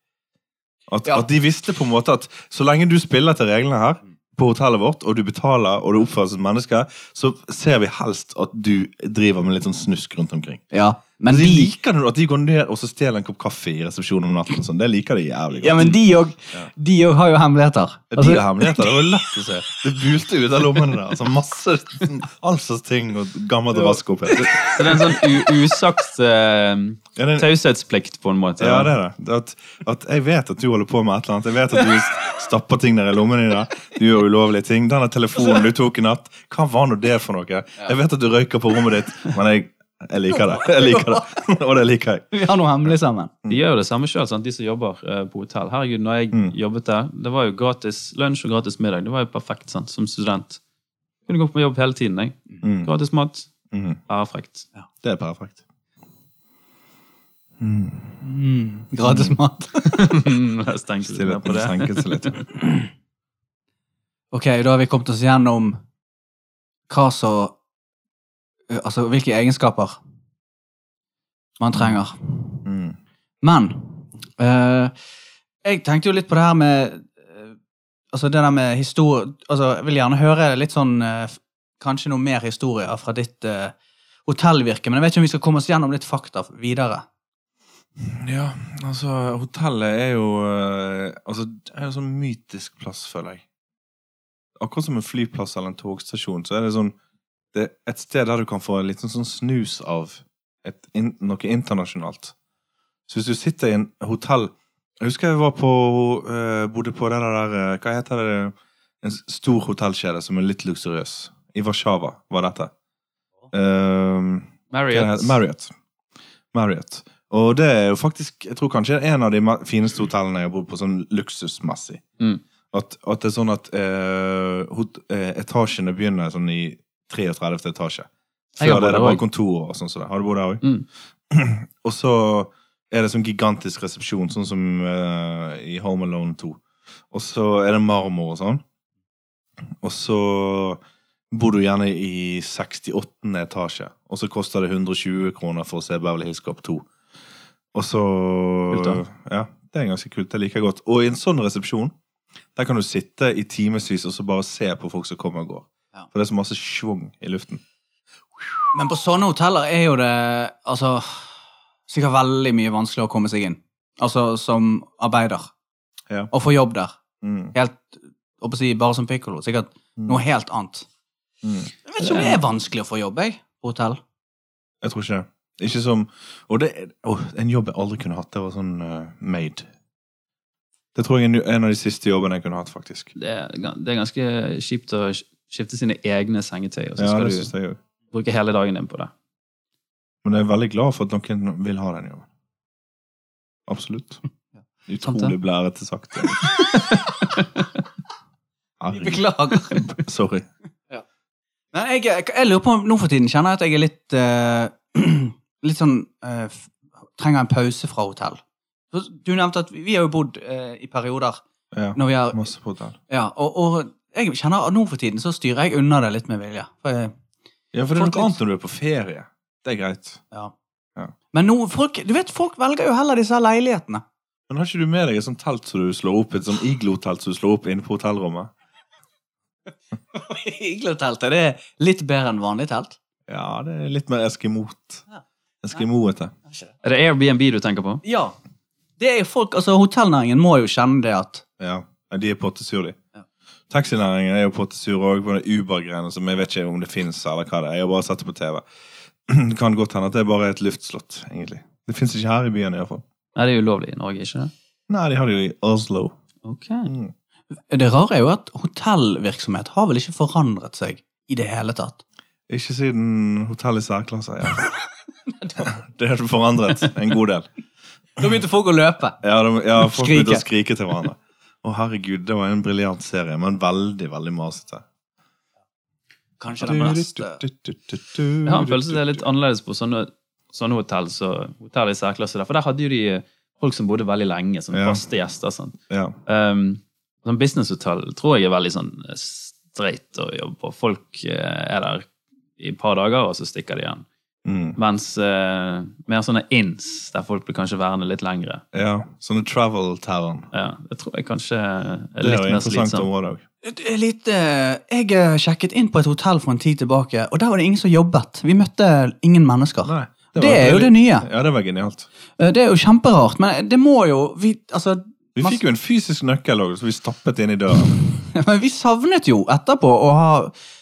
[SPEAKER 2] At,
[SPEAKER 1] Ja.
[SPEAKER 2] at de visste på en måte at så lenge du spiller til reglene her på hotellet vårt, og du betaler og du oppfører deg som menneske, så ser vi helst at du driver med litt sånn snusk rundt omkring.
[SPEAKER 1] Ja, men
[SPEAKER 2] Altså, de,
[SPEAKER 1] de
[SPEAKER 2] liker det, at de går ned og så stjeler en kopp kaffe i resepsjonen om natten. og Sånn. Det liker de jævlig godt.
[SPEAKER 1] Ja, men de òg
[SPEAKER 2] Ja.
[SPEAKER 1] de òg har jo hemmeligheter.
[SPEAKER 2] de
[SPEAKER 1] Altså,
[SPEAKER 2] er hemmeligheter. Det var lett å se. Det bulte ut av lommene der. Altså masse sånn, all slags ting og gammelt og vask opp. helt.
[SPEAKER 3] Så det er en sånn u- usagt eh,
[SPEAKER 2] Ja, det er en-
[SPEAKER 3] taushetsplikt, på en måte.
[SPEAKER 2] Ja, det er det. det. er At, at jeg vet at du holder på med et eller annet. Jeg vet at du stapper ting der i lommene dine. Du gjør ulovlige ting. Denne telefonen du tok i natt, hva var nå det for noe? Jeg vet at du røyker på rommet ditt, men jeg, jeg liker det. Jeg liker det. Og det liker jeg.
[SPEAKER 1] Vi har noe hemmelig sammen.
[SPEAKER 3] De gjør jo det samme sjøl, de som jobber eh, på hotell. Herregud, når jeg
[SPEAKER 2] Mm.
[SPEAKER 3] jobbet der, det var jo gratis lunsj og gratis middag. Det var jo perfekt sant, som student. Kunne gå på jobb hele tiden. jeg.
[SPEAKER 2] Mm.
[SPEAKER 3] Gratis mat,
[SPEAKER 2] Mm.
[SPEAKER 3] bare frekt.
[SPEAKER 2] Det er perfekt.
[SPEAKER 1] Gratis mat.
[SPEAKER 3] Jeg stengte litt ned på
[SPEAKER 2] Stillheten
[SPEAKER 3] det.
[SPEAKER 2] senket seg litt.
[SPEAKER 1] Ok, da har vi kommet oss gjennom hva så Altså hvilke egenskaper man trenger.
[SPEAKER 2] Mm.
[SPEAKER 1] Men eh, jeg tenkte jo litt på det her med eh, Altså det der med historie Altså jeg vil gjerne høre litt sånn eh, f- Kanskje noe mer historier fra ditt eh, hotellvirke, men jeg vet ikke om vi skal komme oss gjennom litt fakta videre.
[SPEAKER 2] Ja, altså, hotellet er jo eh, Altså, det er jo sånn mytisk plass, føler jeg. Akkurat som en flyplass eller en togstasjon, så er det sånn Det er et sted der du kan få en liten sånn snus av et, in, noe internasjonalt. Så hvis du sitter i en hotell Jeg husker jeg var på eh, bodde på det der eh, Hva heter det? En s- stor hotellkjede som er litt luksuriøs. I Warszawa var dette. Um,
[SPEAKER 3] Marriott.
[SPEAKER 2] Marriott. Marriott. Og det er jo faktisk jeg tror kanskje en av de ma- fineste hotellene jeg har bodd på, sånn luksusmessig.
[SPEAKER 3] Mm.
[SPEAKER 2] At, at det er sånn at eh, hot, eh, etasjene begynner sånn i 33. etasje. Før
[SPEAKER 3] Jeg har
[SPEAKER 2] det
[SPEAKER 3] bodd
[SPEAKER 2] er det
[SPEAKER 3] der
[SPEAKER 2] bare
[SPEAKER 3] også.
[SPEAKER 2] kontorer og sånn som det. Har du bodd der òg?
[SPEAKER 3] Mm.
[SPEAKER 2] og så er det sånn gigantisk resepsjon, sånn som eh, i Home Alone 2. Og så er det marmor og sånn. Og så bor du gjerne i 68. etasje, og så koster det 120 kroner for å se Beverly Hills Cop 2. Og så
[SPEAKER 3] Kult da.
[SPEAKER 2] Ja, det er ganske kult. Det liker jeg godt. Og i en sånn resepsjon, der kan du sitte i timevis og så bare se på folk som kommer og går.
[SPEAKER 1] Ja.
[SPEAKER 2] For det er så masse schwung i luften.
[SPEAKER 1] Men på sånne hoteller er jo det altså, sikkert veldig mye vanskeligere å komme seg inn. Altså som arbeider.
[SPEAKER 2] Ja.
[SPEAKER 1] Og få jobb der.
[SPEAKER 2] Mm.
[SPEAKER 1] Helt, å si, bare som pikkolo. Sikkert
[SPEAKER 2] Mm.
[SPEAKER 1] noe helt annet.
[SPEAKER 2] Mm.
[SPEAKER 1] Jeg vet ikke om det er vanskelig å få jobb, jeg. På hotell.
[SPEAKER 2] Jeg tror ikke det. Ikke som Og det er- åh, en jobb jeg aldri kunne hatt, det var sånn eh, maid. Det tror jeg er en- en av de siste jobbene jeg kunne hatt, faktisk.
[SPEAKER 3] Det er, gan- det er ganske kjipt å sk- skifte sine egne sengetøy, og så
[SPEAKER 2] Ja,
[SPEAKER 3] skal
[SPEAKER 2] det
[SPEAKER 3] du
[SPEAKER 2] synes jeg også.
[SPEAKER 3] bruke hele dagen din på det.
[SPEAKER 2] Men jeg er veldig glad for at noen vil ha den jobben. Absolutt.
[SPEAKER 3] sant det.
[SPEAKER 2] Utrolig blærete sagt. Herregud.
[SPEAKER 1] Beklager.
[SPEAKER 2] Sorry.
[SPEAKER 1] Nei, jeg, jeg, jeg lurer på om nå for tiden kjenner jeg at jeg er litt eh, Litt sånn eh, f- Trenger en pause fra hotell. For Du nevnte at vi, vi har jo bodd eh, i perioder
[SPEAKER 2] Ja,
[SPEAKER 1] når vi har
[SPEAKER 2] masse på hotell.
[SPEAKER 1] Ja, og, og jeg kjenner at nå for tiden så styrer jeg unna det litt med vilje. For jeg,
[SPEAKER 2] Ja, for det er
[SPEAKER 1] Folk litt-
[SPEAKER 2] noe annet når du er på ferie. Det er greit.
[SPEAKER 1] ja.
[SPEAKER 2] Ja.
[SPEAKER 1] Men nå, folk, du vet, folk velger jo heller disse her leilighetene.
[SPEAKER 2] Men har ikke du med deg et sånt telt som du slår opp, et sånt iglo-telt som du slår opp inne på hotellrommet?
[SPEAKER 1] Igloteltet det er litt bedre enn vanlig telt.
[SPEAKER 2] Ja, det er litt mer eskimot.
[SPEAKER 1] Ja.
[SPEAKER 2] Eskimoete.
[SPEAKER 3] Er det Airbnb du tenker på?
[SPEAKER 1] Ja. Det er jo folk, altså Hotellnæringen må jo kjenne det at
[SPEAKER 2] Ja, Nei, de er pottesur, de.
[SPEAKER 1] Ja.
[SPEAKER 2] Taxinæringen er jo pottesur òg, på den Uber-greiene som jeg vet ikke om det fins, eller hva det er. Jeg har bare sett det på TV. Det kan godt hende at det bare er et luftslott, egentlig. Det fins ikke her i byen, iallfall.
[SPEAKER 3] Nei, det er ulovlig i Norge, ikke det?
[SPEAKER 2] Nei, de har det jo i Oslo.
[SPEAKER 3] Ok.
[SPEAKER 2] Mm.
[SPEAKER 1] Det rare er jo at hotellvirksomhet har vel ikke forandret seg i det hele tatt.
[SPEAKER 2] Ikke siden hotell i særklasse. Ja. Det har forandret en god del.
[SPEAKER 1] Da begynte folk å løpe.
[SPEAKER 2] Ja, de, ja folk
[SPEAKER 1] Skrike.
[SPEAKER 2] begynte å skrike til hverandre. Å, herregud, det var en briljant serie, men veldig, veldig masete.
[SPEAKER 1] Kanskje eh, den beste.
[SPEAKER 3] Jeg har en følelse det er litt annerledes på sånne, sånne hotell så hotell i særklasse. Der. For der hadde jo de eh, folk som bodde veldig lenge, som
[SPEAKER 2] Ja.
[SPEAKER 3] faste gjester. Sånn.
[SPEAKER 2] Ja.
[SPEAKER 3] Um, sånn businesshotell tror jeg er veldig sånn eh, streit å jobbe på. Folk eh, er der i et par dager, og så stikker de igjen.
[SPEAKER 2] Mm.
[SPEAKER 3] Mens eh, mer sånne inns, der folk blir kanskje værende litt lengre.
[SPEAKER 2] ja. Sånne travel tavern.
[SPEAKER 3] Ja, det tror jeg kanskje er
[SPEAKER 2] Det er
[SPEAKER 3] litt
[SPEAKER 2] jo et
[SPEAKER 3] mer
[SPEAKER 2] interessant
[SPEAKER 3] slitsomt.
[SPEAKER 2] område òg.
[SPEAKER 1] Et lite Jeg eh, sjekket inn på et hotell for en tid tilbake, og der var det ingen som jobbet. Vi møtte ingen mennesker.
[SPEAKER 2] Nei,
[SPEAKER 1] Det,
[SPEAKER 2] var
[SPEAKER 1] er jo
[SPEAKER 2] veldig-
[SPEAKER 1] det nye.
[SPEAKER 2] Ja, det var genialt.
[SPEAKER 1] Eh, Det er jo kjemperart, men det må jo Vi, altså,
[SPEAKER 2] Vi
[SPEAKER 1] Masse-
[SPEAKER 2] fikk jo en fysisk nøkkel òg, som vi stappet inn i døren.
[SPEAKER 1] men vi savnet jo etterpå å ha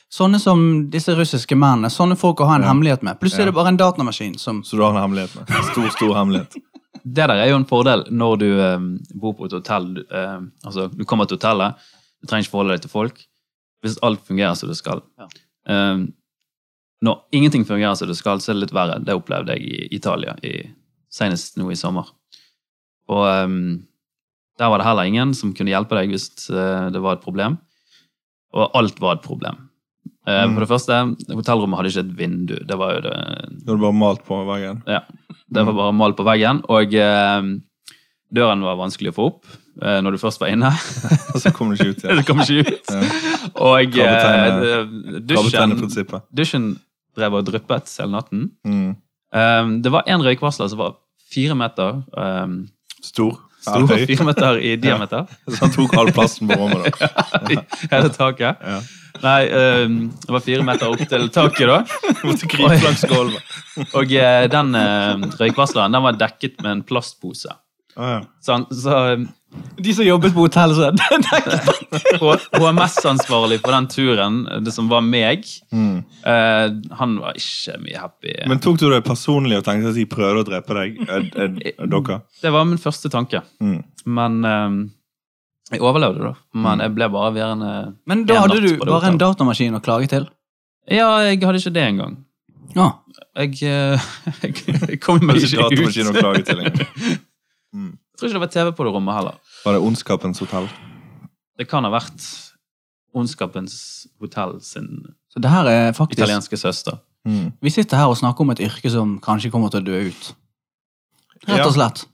[SPEAKER 1] sånne som disse russiske mennene. Sånne folk å ha en
[SPEAKER 2] Ja.
[SPEAKER 1] hemmelighet med. Plutselig er det
[SPEAKER 2] Ja.
[SPEAKER 1] bare en datamaskin som
[SPEAKER 2] Så du har en hemmelighet med. En Stor, stor hemmelighet.
[SPEAKER 3] Det der er jo en fordel når du eh, bor på et hotell. Du, eh, altså, du kommer til hotellet, du trenger ikke forholde deg til folk. Hvis alt fungerer som det skal.
[SPEAKER 1] Ja.
[SPEAKER 3] Eh, når ingenting fungerer som det skal, så er det litt verre. Det opplevde jeg i Italia i, senest nå i sommer. Og eh, der var det heller ingen som kunne hjelpe deg hvis eh, det var et problem. Og alt var et problem. Eh,
[SPEAKER 2] Mm.
[SPEAKER 3] For det første, hotellrommet hadde ikke et vindu. Det var jo det
[SPEAKER 2] Da hadde du bare malt på veggen.
[SPEAKER 3] det
[SPEAKER 2] Mm.
[SPEAKER 3] var bare mal på veggen, og eh, døren var vanskelig å få opp eh, når du først var inne.
[SPEAKER 2] Og så kom du ikke ut
[SPEAKER 3] det
[SPEAKER 2] igjen.
[SPEAKER 3] kom ikke ut.
[SPEAKER 2] Ja.
[SPEAKER 3] Og eh,
[SPEAKER 2] Krabbeteine-
[SPEAKER 3] dusjen,
[SPEAKER 2] Krabbetenneprinsippet.
[SPEAKER 3] dusjen drev og dryppet hele natten.
[SPEAKER 2] Mm.
[SPEAKER 3] Eh, det var én røykvarsler som var fire meter eh,
[SPEAKER 2] Stor. Ja,
[SPEAKER 3] stor,
[SPEAKER 2] høy.
[SPEAKER 3] fire meter i diameter.
[SPEAKER 2] Så han tok all plassen på rommet, da.
[SPEAKER 3] i Hele taket.
[SPEAKER 2] Ja.
[SPEAKER 3] Nei, eh, det var fire meter opp til taket, da.
[SPEAKER 2] Måtte krype langs gulvet.
[SPEAKER 3] Og eh, den eh, røykvarsleren den var dekket med en plastpose.
[SPEAKER 2] Ah, ja.
[SPEAKER 3] Så, han, så eh,
[SPEAKER 1] De som jobbet på hotell, så
[SPEAKER 3] HMS-ansvarlig for den turen, det som var meg,
[SPEAKER 2] Mm.
[SPEAKER 3] eh, han var ikke mye happy.
[SPEAKER 2] Men tok du det personlig og tenkte at de prøvde å drepe deg? Er- er- er Dere?
[SPEAKER 3] det var min første tanke.
[SPEAKER 2] Mm.
[SPEAKER 3] Men eh, jeg overlevde, da. Men jeg ble bare værende
[SPEAKER 1] Men da
[SPEAKER 3] En
[SPEAKER 1] hadde
[SPEAKER 3] natt
[SPEAKER 1] du
[SPEAKER 3] på det
[SPEAKER 1] bare en
[SPEAKER 3] hotellet.
[SPEAKER 1] datamaskin å klage til.
[SPEAKER 3] Ja, jeg hadde ikke det engang.
[SPEAKER 1] Ja.
[SPEAKER 3] Jeg, eh, jeg kom meg
[SPEAKER 2] Mens
[SPEAKER 3] ikke ut.
[SPEAKER 2] datamaskin og klagetilhenger.
[SPEAKER 3] Jeg tror ikke det var TV på det rommet heller.
[SPEAKER 2] Var det Ondskapens hotell?
[SPEAKER 3] Det kan ha vært Ondskapens hotell sin
[SPEAKER 1] Så det her er faktisk
[SPEAKER 3] italienske søster.
[SPEAKER 2] Mm.
[SPEAKER 1] Vi sitter her og snakker om et yrke som kanskje kommer til å dø ut. Rett
[SPEAKER 2] Ja.
[SPEAKER 1] og slett.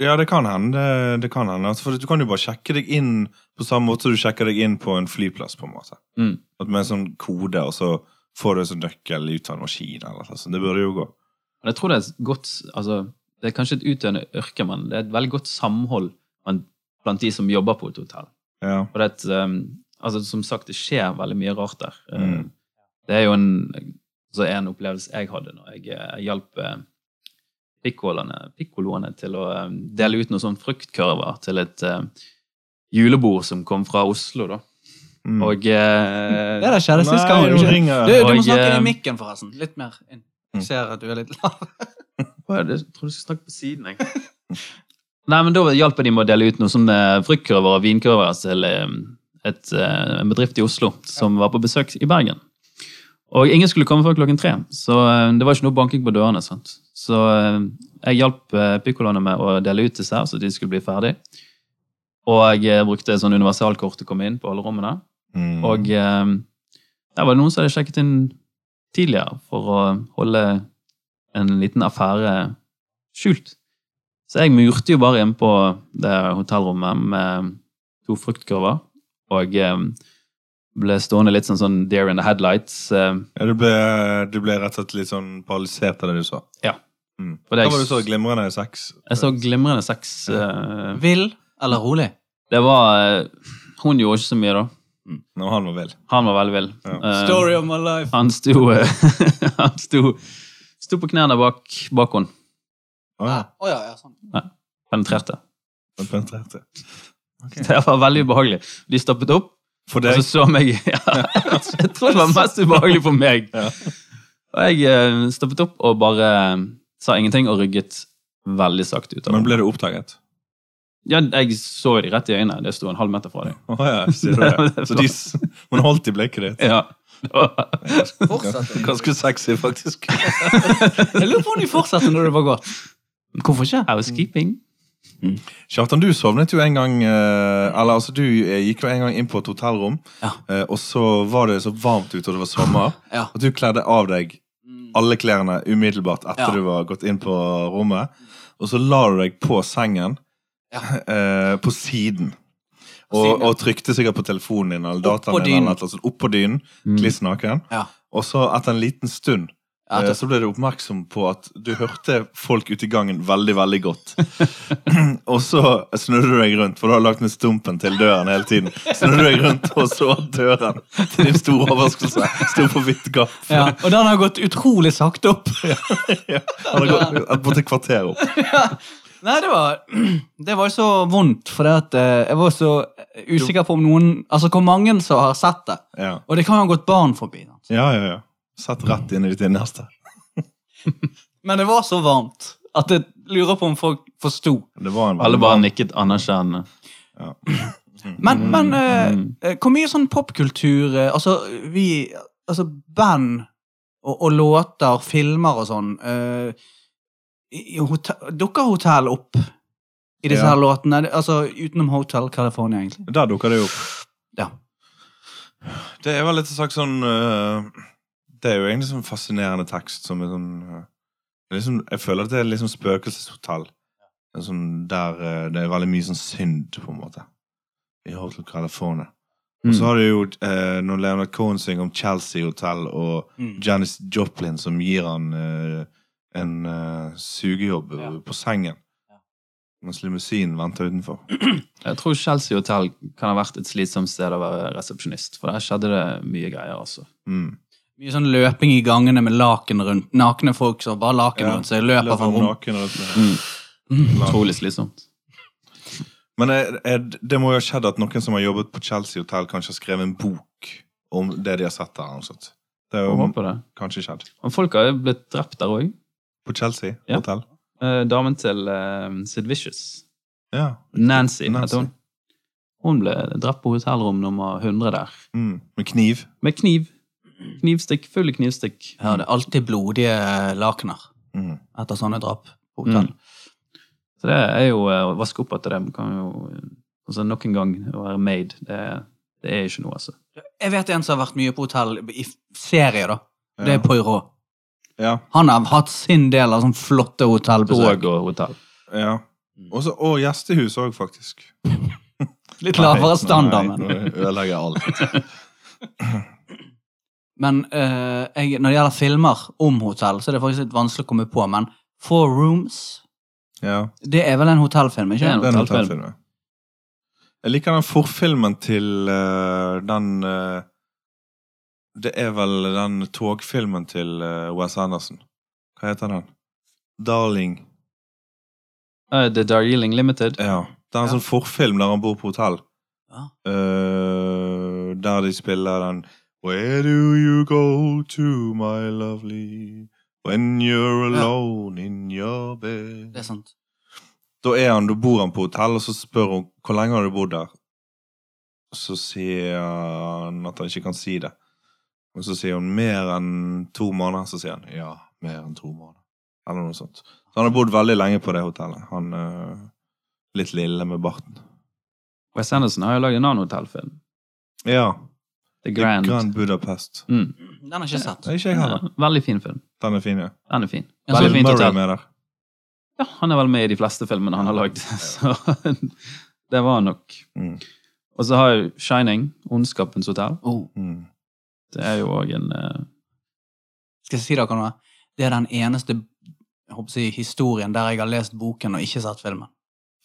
[SPEAKER 2] Ja, det kan hende. Det kan hende. Altså, for du kan jo bare sjekke deg inn på samme måte som du sjekker deg inn på en flyplass. på en måte.
[SPEAKER 3] Mm.
[SPEAKER 2] At Med en sånn kode, og så får du en sånn nøkkel ut av en maskin. eller noe sånt. Det burde jo gå.
[SPEAKER 3] Men jeg tror det er et godt altså, Det er kanskje et utdøende yrke, men det er et veldig godt samhold men- blant de som jobber på et hotell.
[SPEAKER 2] Ja.
[SPEAKER 3] Og det er et, um, altså, som sagt, det skjer veldig mye rart der. Eh,
[SPEAKER 2] Mm.
[SPEAKER 3] Det er jo en, altså, en opplevelse jeg hadde når jeg eh, hjalp eh, pikkoloene- pikkoloene til å eh, dele ut noen sånne fruktkurver til et eh, julebord som kom fra Oslo, da.
[SPEAKER 2] Mm.
[SPEAKER 3] Og eh,
[SPEAKER 1] Det der skjedde sist gang. var
[SPEAKER 2] Nei,
[SPEAKER 1] det
[SPEAKER 2] nå
[SPEAKER 1] ikke? Du,
[SPEAKER 2] ringer jeg.
[SPEAKER 1] du må
[SPEAKER 3] Og,
[SPEAKER 1] snakke inn
[SPEAKER 3] eh,
[SPEAKER 1] i mikken, forresten. Litt mer inn.
[SPEAKER 2] Mm.
[SPEAKER 1] Jeg ser at du er litt lav.
[SPEAKER 3] Å, Jeg jeg tror du skal snakke på siden, jeg. Nei, men da hjalp jeg dem med å dele ut noen sånne fruktkurver og vinkurver til eh, et, eh, en bedrift i Oslo som var på besøk i Bergen. Og ingen skulle komme før klokken tre, så eh, det var ikke noe banking på dørene. sant? Så eh, jeg hjalp eh, pikkoloene med å dele ut dessert, så de skulle bli ferdig. Og jeg eh, brukte sånn universalkort til å komme inn på alle rommene.
[SPEAKER 2] Mm.
[SPEAKER 3] Og eh, der var det noen som hadde sjekket inn tidligere for å holde en liten affære skjult. Så jeg murte jo bare inn på det hotellrommet med to fruktkurver, og eh, ble stående litt sånn, sånn deer in the headlights. eh,
[SPEAKER 2] ja, du, ble, du ble rett og slett litt sånn paralysert av det du så?
[SPEAKER 3] Ja.
[SPEAKER 2] Mm.
[SPEAKER 3] For
[SPEAKER 2] Hva
[SPEAKER 3] det-
[SPEAKER 2] var det du så? Glimrende sex?
[SPEAKER 3] Jeg så glimrende sex. eh,
[SPEAKER 1] Vill eller rolig?
[SPEAKER 3] Det var eh, Hun gjorde ikke så mye, da.
[SPEAKER 2] Når han var vill.
[SPEAKER 3] Han var veldig vill.
[SPEAKER 2] Ja.
[SPEAKER 3] Eh,
[SPEAKER 1] Story of my life.
[SPEAKER 3] han sto, eh, han sto, sto på knærne bak, bak henne.
[SPEAKER 2] Å
[SPEAKER 1] Å
[SPEAKER 2] ja.
[SPEAKER 1] ja, ja, sånn.
[SPEAKER 3] Penetrerte.
[SPEAKER 2] han penetrerte.
[SPEAKER 3] Det var veldig ubehagelig. De stoppet opp,
[SPEAKER 2] For
[SPEAKER 3] og
[SPEAKER 2] deg?
[SPEAKER 3] så så meg ja, Jeg tror det var mest ubehagelig for meg.
[SPEAKER 2] Ja.
[SPEAKER 3] Og jeg eh, stoppet opp og bare eh, sa ingenting og rygget veldig sakte ut av
[SPEAKER 2] Men
[SPEAKER 3] dem.
[SPEAKER 2] ble du oppdaget?
[SPEAKER 3] Ja, jeg så de rett i øynene. Det sto en halv meter fra dem.
[SPEAKER 2] Å ja, sier du det? Så de, s- hun holdt i blikket ditt?
[SPEAKER 3] Ja. Og
[SPEAKER 1] Fortsatte.
[SPEAKER 2] Ganske sexy, faktisk.
[SPEAKER 1] Jeg lurer på om de fortsatte når det var gått. Hvorfor ikke?
[SPEAKER 3] Housekeeping.
[SPEAKER 2] Kjartan, du sovnet jo en gang eh, Eller altså, du eh, gikk jo en gang inn på et hotellrom,
[SPEAKER 1] Ja.
[SPEAKER 2] eh, og så var det så varmt ute, og det var sommer,
[SPEAKER 1] Ja. Mm.
[SPEAKER 2] at du kledde av deg alle klærne umiddelbart etter
[SPEAKER 1] Ja.
[SPEAKER 2] du var gått inn på rommet, og så la du deg på sengen
[SPEAKER 1] Ja.
[SPEAKER 2] eh, på siden.
[SPEAKER 1] På
[SPEAKER 2] Og,
[SPEAKER 1] siden, ja.
[SPEAKER 2] og trykte sikkert på telefonen din eller
[SPEAKER 1] Opp på dynen. Mm.
[SPEAKER 2] dataen din. eller noe sånt, Opp på dynen, Mm.
[SPEAKER 3] Mm.
[SPEAKER 2] kliss naken.
[SPEAKER 1] Ja.
[SPEAKER 2] Og så etter en liten stund
[SPEAKER 1] Ja,
[SPEAKER 2] Eh,
[SPEAKER 1] det-
[SPEAKER 2] Så ble du oppmerksom på at du hørte folk ute i gangen veldig, veldig godt. og så snudde du deg rundt, for du har lagt ned stumpen til døren hele tiden. Snudde du deg rundt og så at døren til din store overraskelse sto på vidt gap.
[SPEAKER 1] ja. Og den har gått utrolig sakte opp.
[SPEAKER 2] Han har gått et borti kvarter opp.
[SPEAKER 1] Nei, det var Det var så vondt, for at eh, jeg var så usikker på om noen Altså hvor mange som har sett det.
[SPEAKER 2] Ja,
[SPEAKER 1] Og det kan jo ha gått barn forbi. da.
[SPEAKER 2] ja, ja. ja. Sett rett inn i ditt innerste.
[SPEAKER 1] Men det var så varmt at jeg lurer på om folk forsto.
[SPEAKER 2] Det var en
[SPEAKER 3] Alle bare nikket anerkjennende.
[SPEAKER 1] Men, men eh,
[SPEAKER 3] Mm.
[SPEAKER 1] eh, hvor mye sånn popkultur eh, Altså, vi Altså, band og, og låter, filmer og sånn eh, i- i hotell- Dukker hotell opp i disse
[SPEAKER 2] Ja.
[SPEAKER 1] her låtene? Det- Altså utenom Hotel California, egentlig.
[SPEAKER 2] Der dukker det jo opp.
[SPEAKER 1] Ja.
[SPEAKER 2] Det er vel litt sagt sånn øh, Det er jo egentlig sånn fascinerende tekst som er sånn øh, det er liksom, Jeg føler at det er liksom spøkelseshotell. Det er sånn der øh, det er veldig mye sånn synd, på en måte. I Hotel California. Og så
[SPEAKER 3] Mm.
[SPEAKER 2] har du jo øh, når Leonard Cohen synger om Chelsea Hotel og
[SPEAKER 1] Mm.
[SPEAKER 2] Janis Joplin som gir han øh, en øh, sugejobb
[SPEAKER 1] Ja.
[SPEAKER 2] på sengen. Mens limousinen venter utenfor.
[SPEAKER 3] Jeg tror Chelsea Hotel kan ha vært et slitsomt sted å være resepsjonist, for der skjedde det mye greier, altså.
[SPEAKER 2] Mm.
[SPEAKER 1] Mye sånn løping i gangene med laken rundt. Nakne folk som bare laken
[SPEAKER 2] Ja. Mm.
[SPEAKER 1] rundt seg løper fra rom.
[SPEAKER 2] Naken sånn rundt med-
[SPEAKER 3] Utrolig slitsomt.
[SPEAKER 2] Men er, er, det må jo ha skjedd at noen som har jobbet på Chelsea Hotel, kanskje har skrevet en bok om det de har sett der. eller noe sånt. Det er
[SPEAKER 3] Jeg
[SPEAKER 2] jo
[SPEAKER 3] håper det.
[SPEAKER 2] kanskje skjedd.
[SPEAKER 3] Men folk har jo blitt drept der òg.
[SPEAKER 2] På Chelsea
[SPEAKER 3] Ja.
[SPEAKER 2] Hotel?
[SPEAKER 3] Eh, damen til eh, Sid Vicious,
[SPEAKER 2] Ja. Nancy.
[SPEAKER 3] Nancy, heter hun. Hun ble drept på hotellrom nummer 100 der.
[SPEAKER 2] Mm. Med kniv?
[SPEAKER 3] Med kniv. Knivstikk, full knivstikk.
[SPEAKER 1] Jeg hadde alltid blodige eh, lakener
[SPEAKER 2] Mm.
[SPEAKER 1] etter sånne drap på hotell.
[SPEAKER 3] Så det er jo eh, å vaske opp etter dem kan jo altså Nok en gang å være made. Det, det er ikke noe, altså.
[SPEAKER 1] Jeg vet en som har vært mye på hotell i serie, da. Det
[SPEAKER 2] Ja.
[SPEAKER 1] er Poirot.
[SPEAKER 2] Ja,
[SPEAKER 1] Han har hatt sin del av sånn flotte hotellbesøk.
[SPEAKER 3] Tog og hotell.
[SPEAKER 2] ja. Også, og gjestehus òg, faktisk.
[SPEAKER 1] Litt lavere standard,
[SPEAKER 2] men
[SPEAKER 1] men
[SPEAKER 2] Nå ødelegger jeg alt.
[SPEAKER 1] Men eh, jeg, når det gjelder filmer om hotell, så er det faktisk litt vanskelig å komme på. Men Four Rooms,
[SPEAKER 2] Ja,
[SPEAKER 1] det er vel en hotellfilm, ikke?
[SPEAKER 3] Det er en
[SPEAKER 2] den
[SPEAKER 3] hotellfilm.
[SPEAKER 2] hotellfilmen. Jeg liker den forfilmen til eh, den eh, Det er vel den togfilmen til eh, Wes Anderson. Hva heter den? Darling.
[SPEAKER 3] Eh, The Darjeeling Limited.
[SPEAKER 2] Ja. Det er en
[SPEAKER 1] Ja.
[SPEAKER 2] sånn forfilm der han bor på hotell.
[SPEAKER 1] Ja.
[SPEAKER 2] Eh, der de spiller den Where do you go to, my lovely When you're
[SPEAKER 1] Ja.
[SPEAKER 2] alone in your bed
[SPEAKER 1] Det er sant.
[SPEAKER 2] Da er han, da bor han på hotell, og så spør hun hvor lenge har du bodd der. Så sier han at han ikke kan si det. Og så sier hun mer enn to måneder. Så sier han ja, mer enn to måneder. Eller noe sånt. Så han har bodd veldig lenge på det hotellet. Han eh, litt lille med barten.
[SPEAKER 3] Wes Anderson har jo lagd en annen hotellfilm.
[SPEAKER 2] Ja.
[SPEAKER 3] The
[SPEAKER 2] The
[SPEAKER 3] Grand.
[SPEAKER 2] Grand Budapest.
[SPEAKER 3] Mm.
[SPEAKER 1] Den har jeg ikke sett.
[SPEAKER 2] Det er ikke jeg heller.
[SPEAKER 3] Ja, veldig fin film.
[SPEAKER 2] Den er fin, ja.
[SPEAKER 3] Den er fin.
[SPEAKER 1] Ja,
[SPEAKER 3] Veldig
[SPEAKER 2] Bill
[SPEAKER 3] fint
[SPEAKER 2] Murray
[SPEAKER 3] hotell.
[SPEAKER 2] med der.
[SPEAKER 3] Ja, han er vel med i de fleste filmene han har lagd, så det var nok.
[SPEAKER 2] Mm.
[SPEAKER 3] Og så har jo Shining, Ondskapens hotell.
[SPEAKER 1] Oh,
[SPEAKER 2] Mm.
[SPEAKER 3] Det er jo òg en eh,
[SPEAKER 1] skal jeg si dere noe? Det er den eneste jeg håper å si, historien der jeg har lest boken og ikke sett filmen.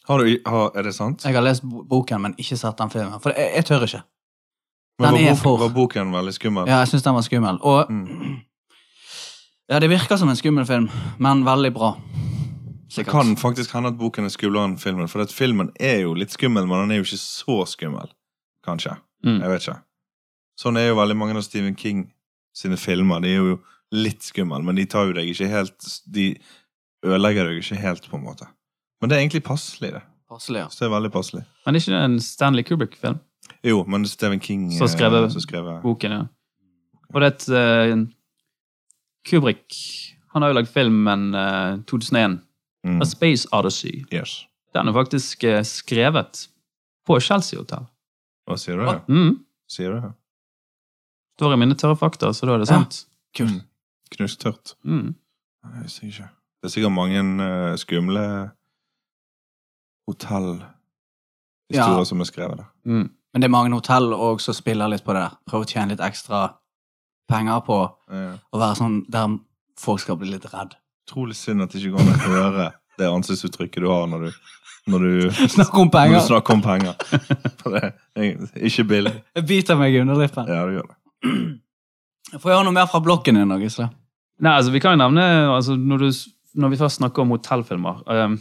[SPEAKER 2] Har du, har, er det sant?
[SPEAKER 1] Jeg har lest bo- boken, men ikke sett den filmen. For jeg, jeg tør ikke. den
[SPEAKER 2] Men var,
[SPEAKER 1] er
[SPEAKER 2] boken,
[SPEAKER 1] for-
[SPEAKER 2] var boken veldig skummel?
[SPEAKER 1] Ja, jeg syns den var skummel. Og
[SPEAKER 2] Mm.
[SPEAKER 1] ja, det virker som en skummel film, men veldig bra.
[SPEAKER 2] Det kan faktisk hende at boken er skumlere enn filmen, for at filmen er jo litt skummel, men den er jo ikke så skummel. Kanskje.
[SPEAKER 3] mm.
[SPEAKER 2] Jeg vet ikke. Sånn er jo veldig mange av Stephen King sine filmer. De er jo litt skumle, men de tar jo deg ikke helt De ødelegger deg ikke helt, på en måte. Men det er egentlig passelig, det.
[SPEAKER 1] Passelig, altså. ja.
[SPEAKER 2] Så det er veldig passelig.
[SPEAKER 3] Men er ikke det en Stanley Kubrick-film?
[SPEAKER 2] Jo, men Stephen King
[SPEAKER 3] Så skrevet-
[SPEAKER 2] eh, så skrevet
[SPEAKER 3] Boken, ja. Og det er et eh, Kubrick Han har jo lagd filmen eh, 2001,
[SPEAKER 2] mm.
[SPEAKER 3] A Space Odyssey.
[SPEAKER 2] Yes.
[SPEAKER 3] Den er faktisk eh, skrevet på Chelsea Hotel.
[SPEAKER 2] Hva sier du? her?
[SPEAKER 3] Mm.
[SPEAKER 2] Sier du? her?
[SPEAKER 3] Står i mine tørre fakta, så da er det
[SPEAKER 1] Ja.
[SPEAKER 3] sant.
[SPEAKER 1] Kult.
[SPEAKER 2] Mm. Knusktørt.
[SPEAKER 3] Mm.
[SPEAKER 2] Nei, Jeg visste ikke. Det er sikkert mange eh, skumle hotellhistorier
[SPEAKER 1] Ja.
[SPEAKER 2] som er skrevet der.
[SPEAKER 3] Mm.
[SPEAKER 1] Men det er mange hotell òg som spiller litt på det der. Prøver å tjene litt ekstra penger på å
[SPEAKER 2] Eh,
[SPEAKER 1] være sånn der folk skal bli litt redd.
[SPEAKER 2] Utrolig synd at det ikke går an å høre det ansiktsuttrykket du har når du, når du,
[SPEAKER 1] Snakk om
[SPEAKER 2] når du
[SPEAKER 1] penger!
[SPEAKER 2] snakker om penger. For det er ikke billig.
[SPEAKER 1] Jeg biter meg i underlippen.
[SPEAKER 2] Ja, det gjør det.
[SPEAKER 1] Får jeg høre noe mer fra blokken din nå, Gisle?
[SPEAKER 3] Nei, altså vi kan jo nevne altså, når, du, s- når vi først snakker om hotellfilmer ehm,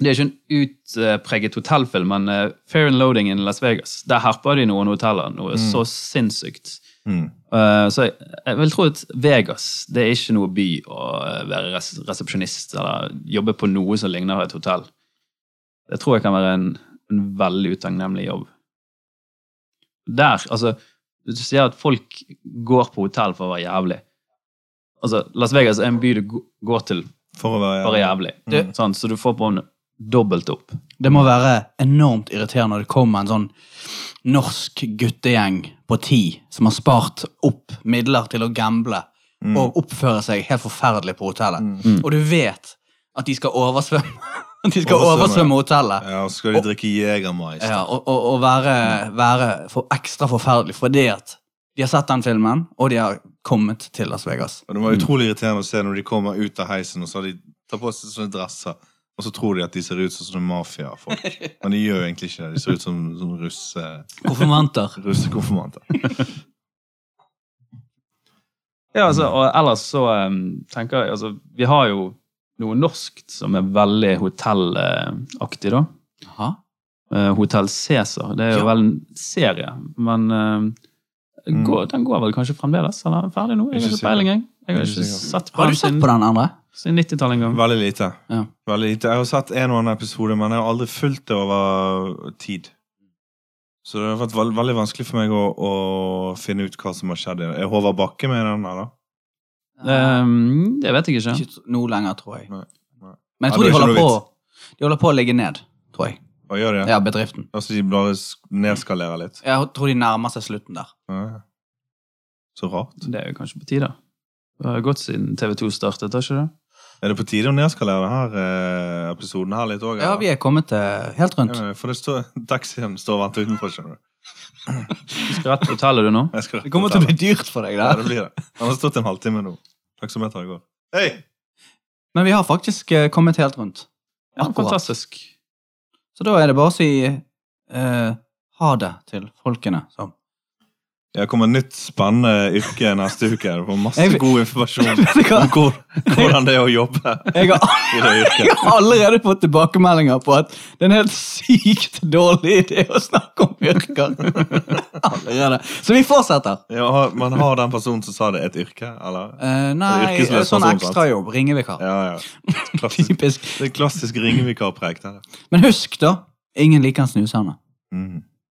[SPEAKER 3] Det er ikke en utpreget hotellfilm, men eh, Fair and Loading in Las Vegas. Der herper de noen hoteller noe
[SPEAKER 2] Mm.
[SPEAKER 3] så sinnssykt.
[SPEAKER 2] Mm.
[SPEAKER 3] Eh, så jeg, jeg vil tro at Vegas det er ikke noe by å eh, være res resepsjonist eller jobbe på noe som ligner et hotell. Det tror jeg kan være en, en veldig utakknemlig jobb. Der, altså Du sier at folk går på hotell for å være jævlig. Altså, Las Vegas er en by du g- går til
[SPEAKER 2] For å
[SPEAKER 3] for å
[SPEAKER 2] være
[SPEAKER 3] være jævlig.
[SPEAKER 2] Mm.
[SPEAKER 3] Sånn, så du får på en dobbelt opp.
[SPEAKER 1] Det må være enormt irriterende når det kommer en sånn norsk guttegjeng på ti som har spart opp midler til å gamble
[SPEAKER 2] Mm.
[SPEAKER 1] og oppføre seg helt forferdelig på hotellet.
[SPEAKER 2] Mm.
[SPEAKER 1] Og du vet at de skal oversvømme, at de skal
[SPEAKER 2] Oversvømme, ja.
[SPEAKER 1] oversvømme hotellet.
[SPEAKER 2] Ja, og skal de drikke Jegermais?
[SPEAKER 1] Ja, og, og, og være, være for ekstra forferdelig fordi at de har sett den filmen, og de har kommet til Las Vegas.
[SPEAKER 2] Og det var utrolig irriterende å se når de kommer ut av heisen, og så har de tar på seg sånne dresser, og så tror de at de ser ut som sånne mafiafolk. Men de gjør jo egentlig ikke det. De ser ut som, som russe,
[SPEAKER 1] Konfirmanter.
[SPEAKER 2] russekonfirmanter.
[SPEAKER 3] Ja, altså, og ellers så em, tenker jeg altså, Vi har jo noe norskt som er veldig hotellaktig, da.
[SPEAKER 1] Jaha.
[SPEAKER 3] Eh, Hotell Cæsar. Det er jo
[SPEAKER 1] Ja.
[SPEAKER 3] vel en serie, men em,
[SPEAKER 2] Mm.
[SPEAKER 3] går, den går vel kanskje fremdeles? Eller er den ferdig nå?
[SPEAKER 2] Ikke
[SPEAKER 3] Jeg har ikke
[SPEAKER 2] sikker.
[SPEAKER 3] peiling, jeg. Jeg har
[SPEAKER 2] Ikke
[SPEAKER 3] ikke
[SPEAKER 2] sikker.
[SPEAKER 3] sett på
[SPEAKER 1] Har
[SPEAKER 3] den
[SPEAKER 1] du sett
[SPEAKER 3] siden,
[SPEAKER 1] på den andre?
[SPEAKER 3] siden 90-tallet en gang.
[SPEAKER 2] Veldig lite.
[SPEAKER 1] Ja.
[SPEAKER 2] Veldig lite. Jeg har sett en og annen episode, men jeg har aldri fulgt det over tid. Så det har vært veld, veldig vanskelig for meg å, å finne ut hva som har skjedd. Er Håvard Bakke med i den her, da?
[SPEAKER 3] Ehm, det vet jeg ikke.
[SPEAKER 1] Ikke nå lenger, tror jeg.
[SPEAKER 2] Nei, nei.
[SPEAKER 1] Men jeg
[SPEAKER 2] Ja,
[SPEAKER 1] tror de,
[SPEAKER 2] det er ikke
[SPEAKER 1] holder
[SPEAKER 2] noe
[SPEAKER 1] på, de holder på å ligge ned, tror jeg.
[SPEAKER 2] Å, gjør de det?
[SPEAKER 1] Ja, bedriften.
[SPEAKER 2] Altså, de bare sk- nedskalerer litt?
[SPEAKER 1] Jeg tror de nærmer seg slutten der.
[SPEAKER 2] Ja. Så rart.
[SPEAKER 3] Det er jo kanskje på tide. Det har gått siden TV2 startet, har ikke det?
[SPEAKER 2] Er det på tide å nedskalere denne eh, episoden her litt òg?
[SPEAKER 1] Ja, vi er kommet til helt rundt.
[SPEAKER 2] For det står, taxien står og venter utenfor, skjønner du.
[SPEAKER 3] Du skal rett på hotellet du nå.
[SPEAKER 2] Jeg skal rett
[SPEAKER 1] Det kommer
[SPEAKER 2] og
[SPEAKER 1] til å
[SPEAKER 2] ta
[SPEAKER 1] bli dyrt for deg,
[SPEAKER 2] Ja, det
[SPEAKER 1] det.
[SPEAKER 2] blir det. Han har stått en halvtime nå. Taksometeret går. Hei!
[SPEAKER 1] Men vi har faktisk eh, kommet helt rundt.
[SPEAKER 3] Ja,
[SPEAKER 1] Akkurat.
[SPEAKER 3] fantastisk.
[SPEAKER 1] Så da er det bare å si eh, ha det til folkene. Så.
[SPEAKER 2] Jeg kommer nytt spennende yrke neste uke. Du får masse
[SPEAKER 1] Jeg-
[SPEAKER 2] god informasjon
[SPEAKER 1] Vet du hva?
[SPEAKER 2] om hvor, hvordan det er å jobbe
[SPEAKER 1] Jeg har,
[SPEAKER 2] i det yrket.
[SPEAKER 1] jeg har allerede fått tilbakemeldinger på at det er en helt sykt dårlig idé å snakke om yrker. Allerede. Så vi fortsetter.
[SPEAKER 2] Ja, har- men har den personen som sa det, et yrke, eller?
[SPEAKER 1] Eh, nei,
[SPEAKER 2] Det er yrkesløs
[SPEAKER 1] sånn
[SPEAKER 2] person, sant?
[SPEAKER 1] ekstrajobb. Ringevikar.
[SPEAKER 2] Ja, ja. Klassisk,
[SPEAKER 1] Typisk.
[SPEAKER 2] det er klassisk ringevikarpreg. det der.
[SPEAKER 1] Men husk, da. Ingen liker en snusende.
[SPEAKER 2] Mm.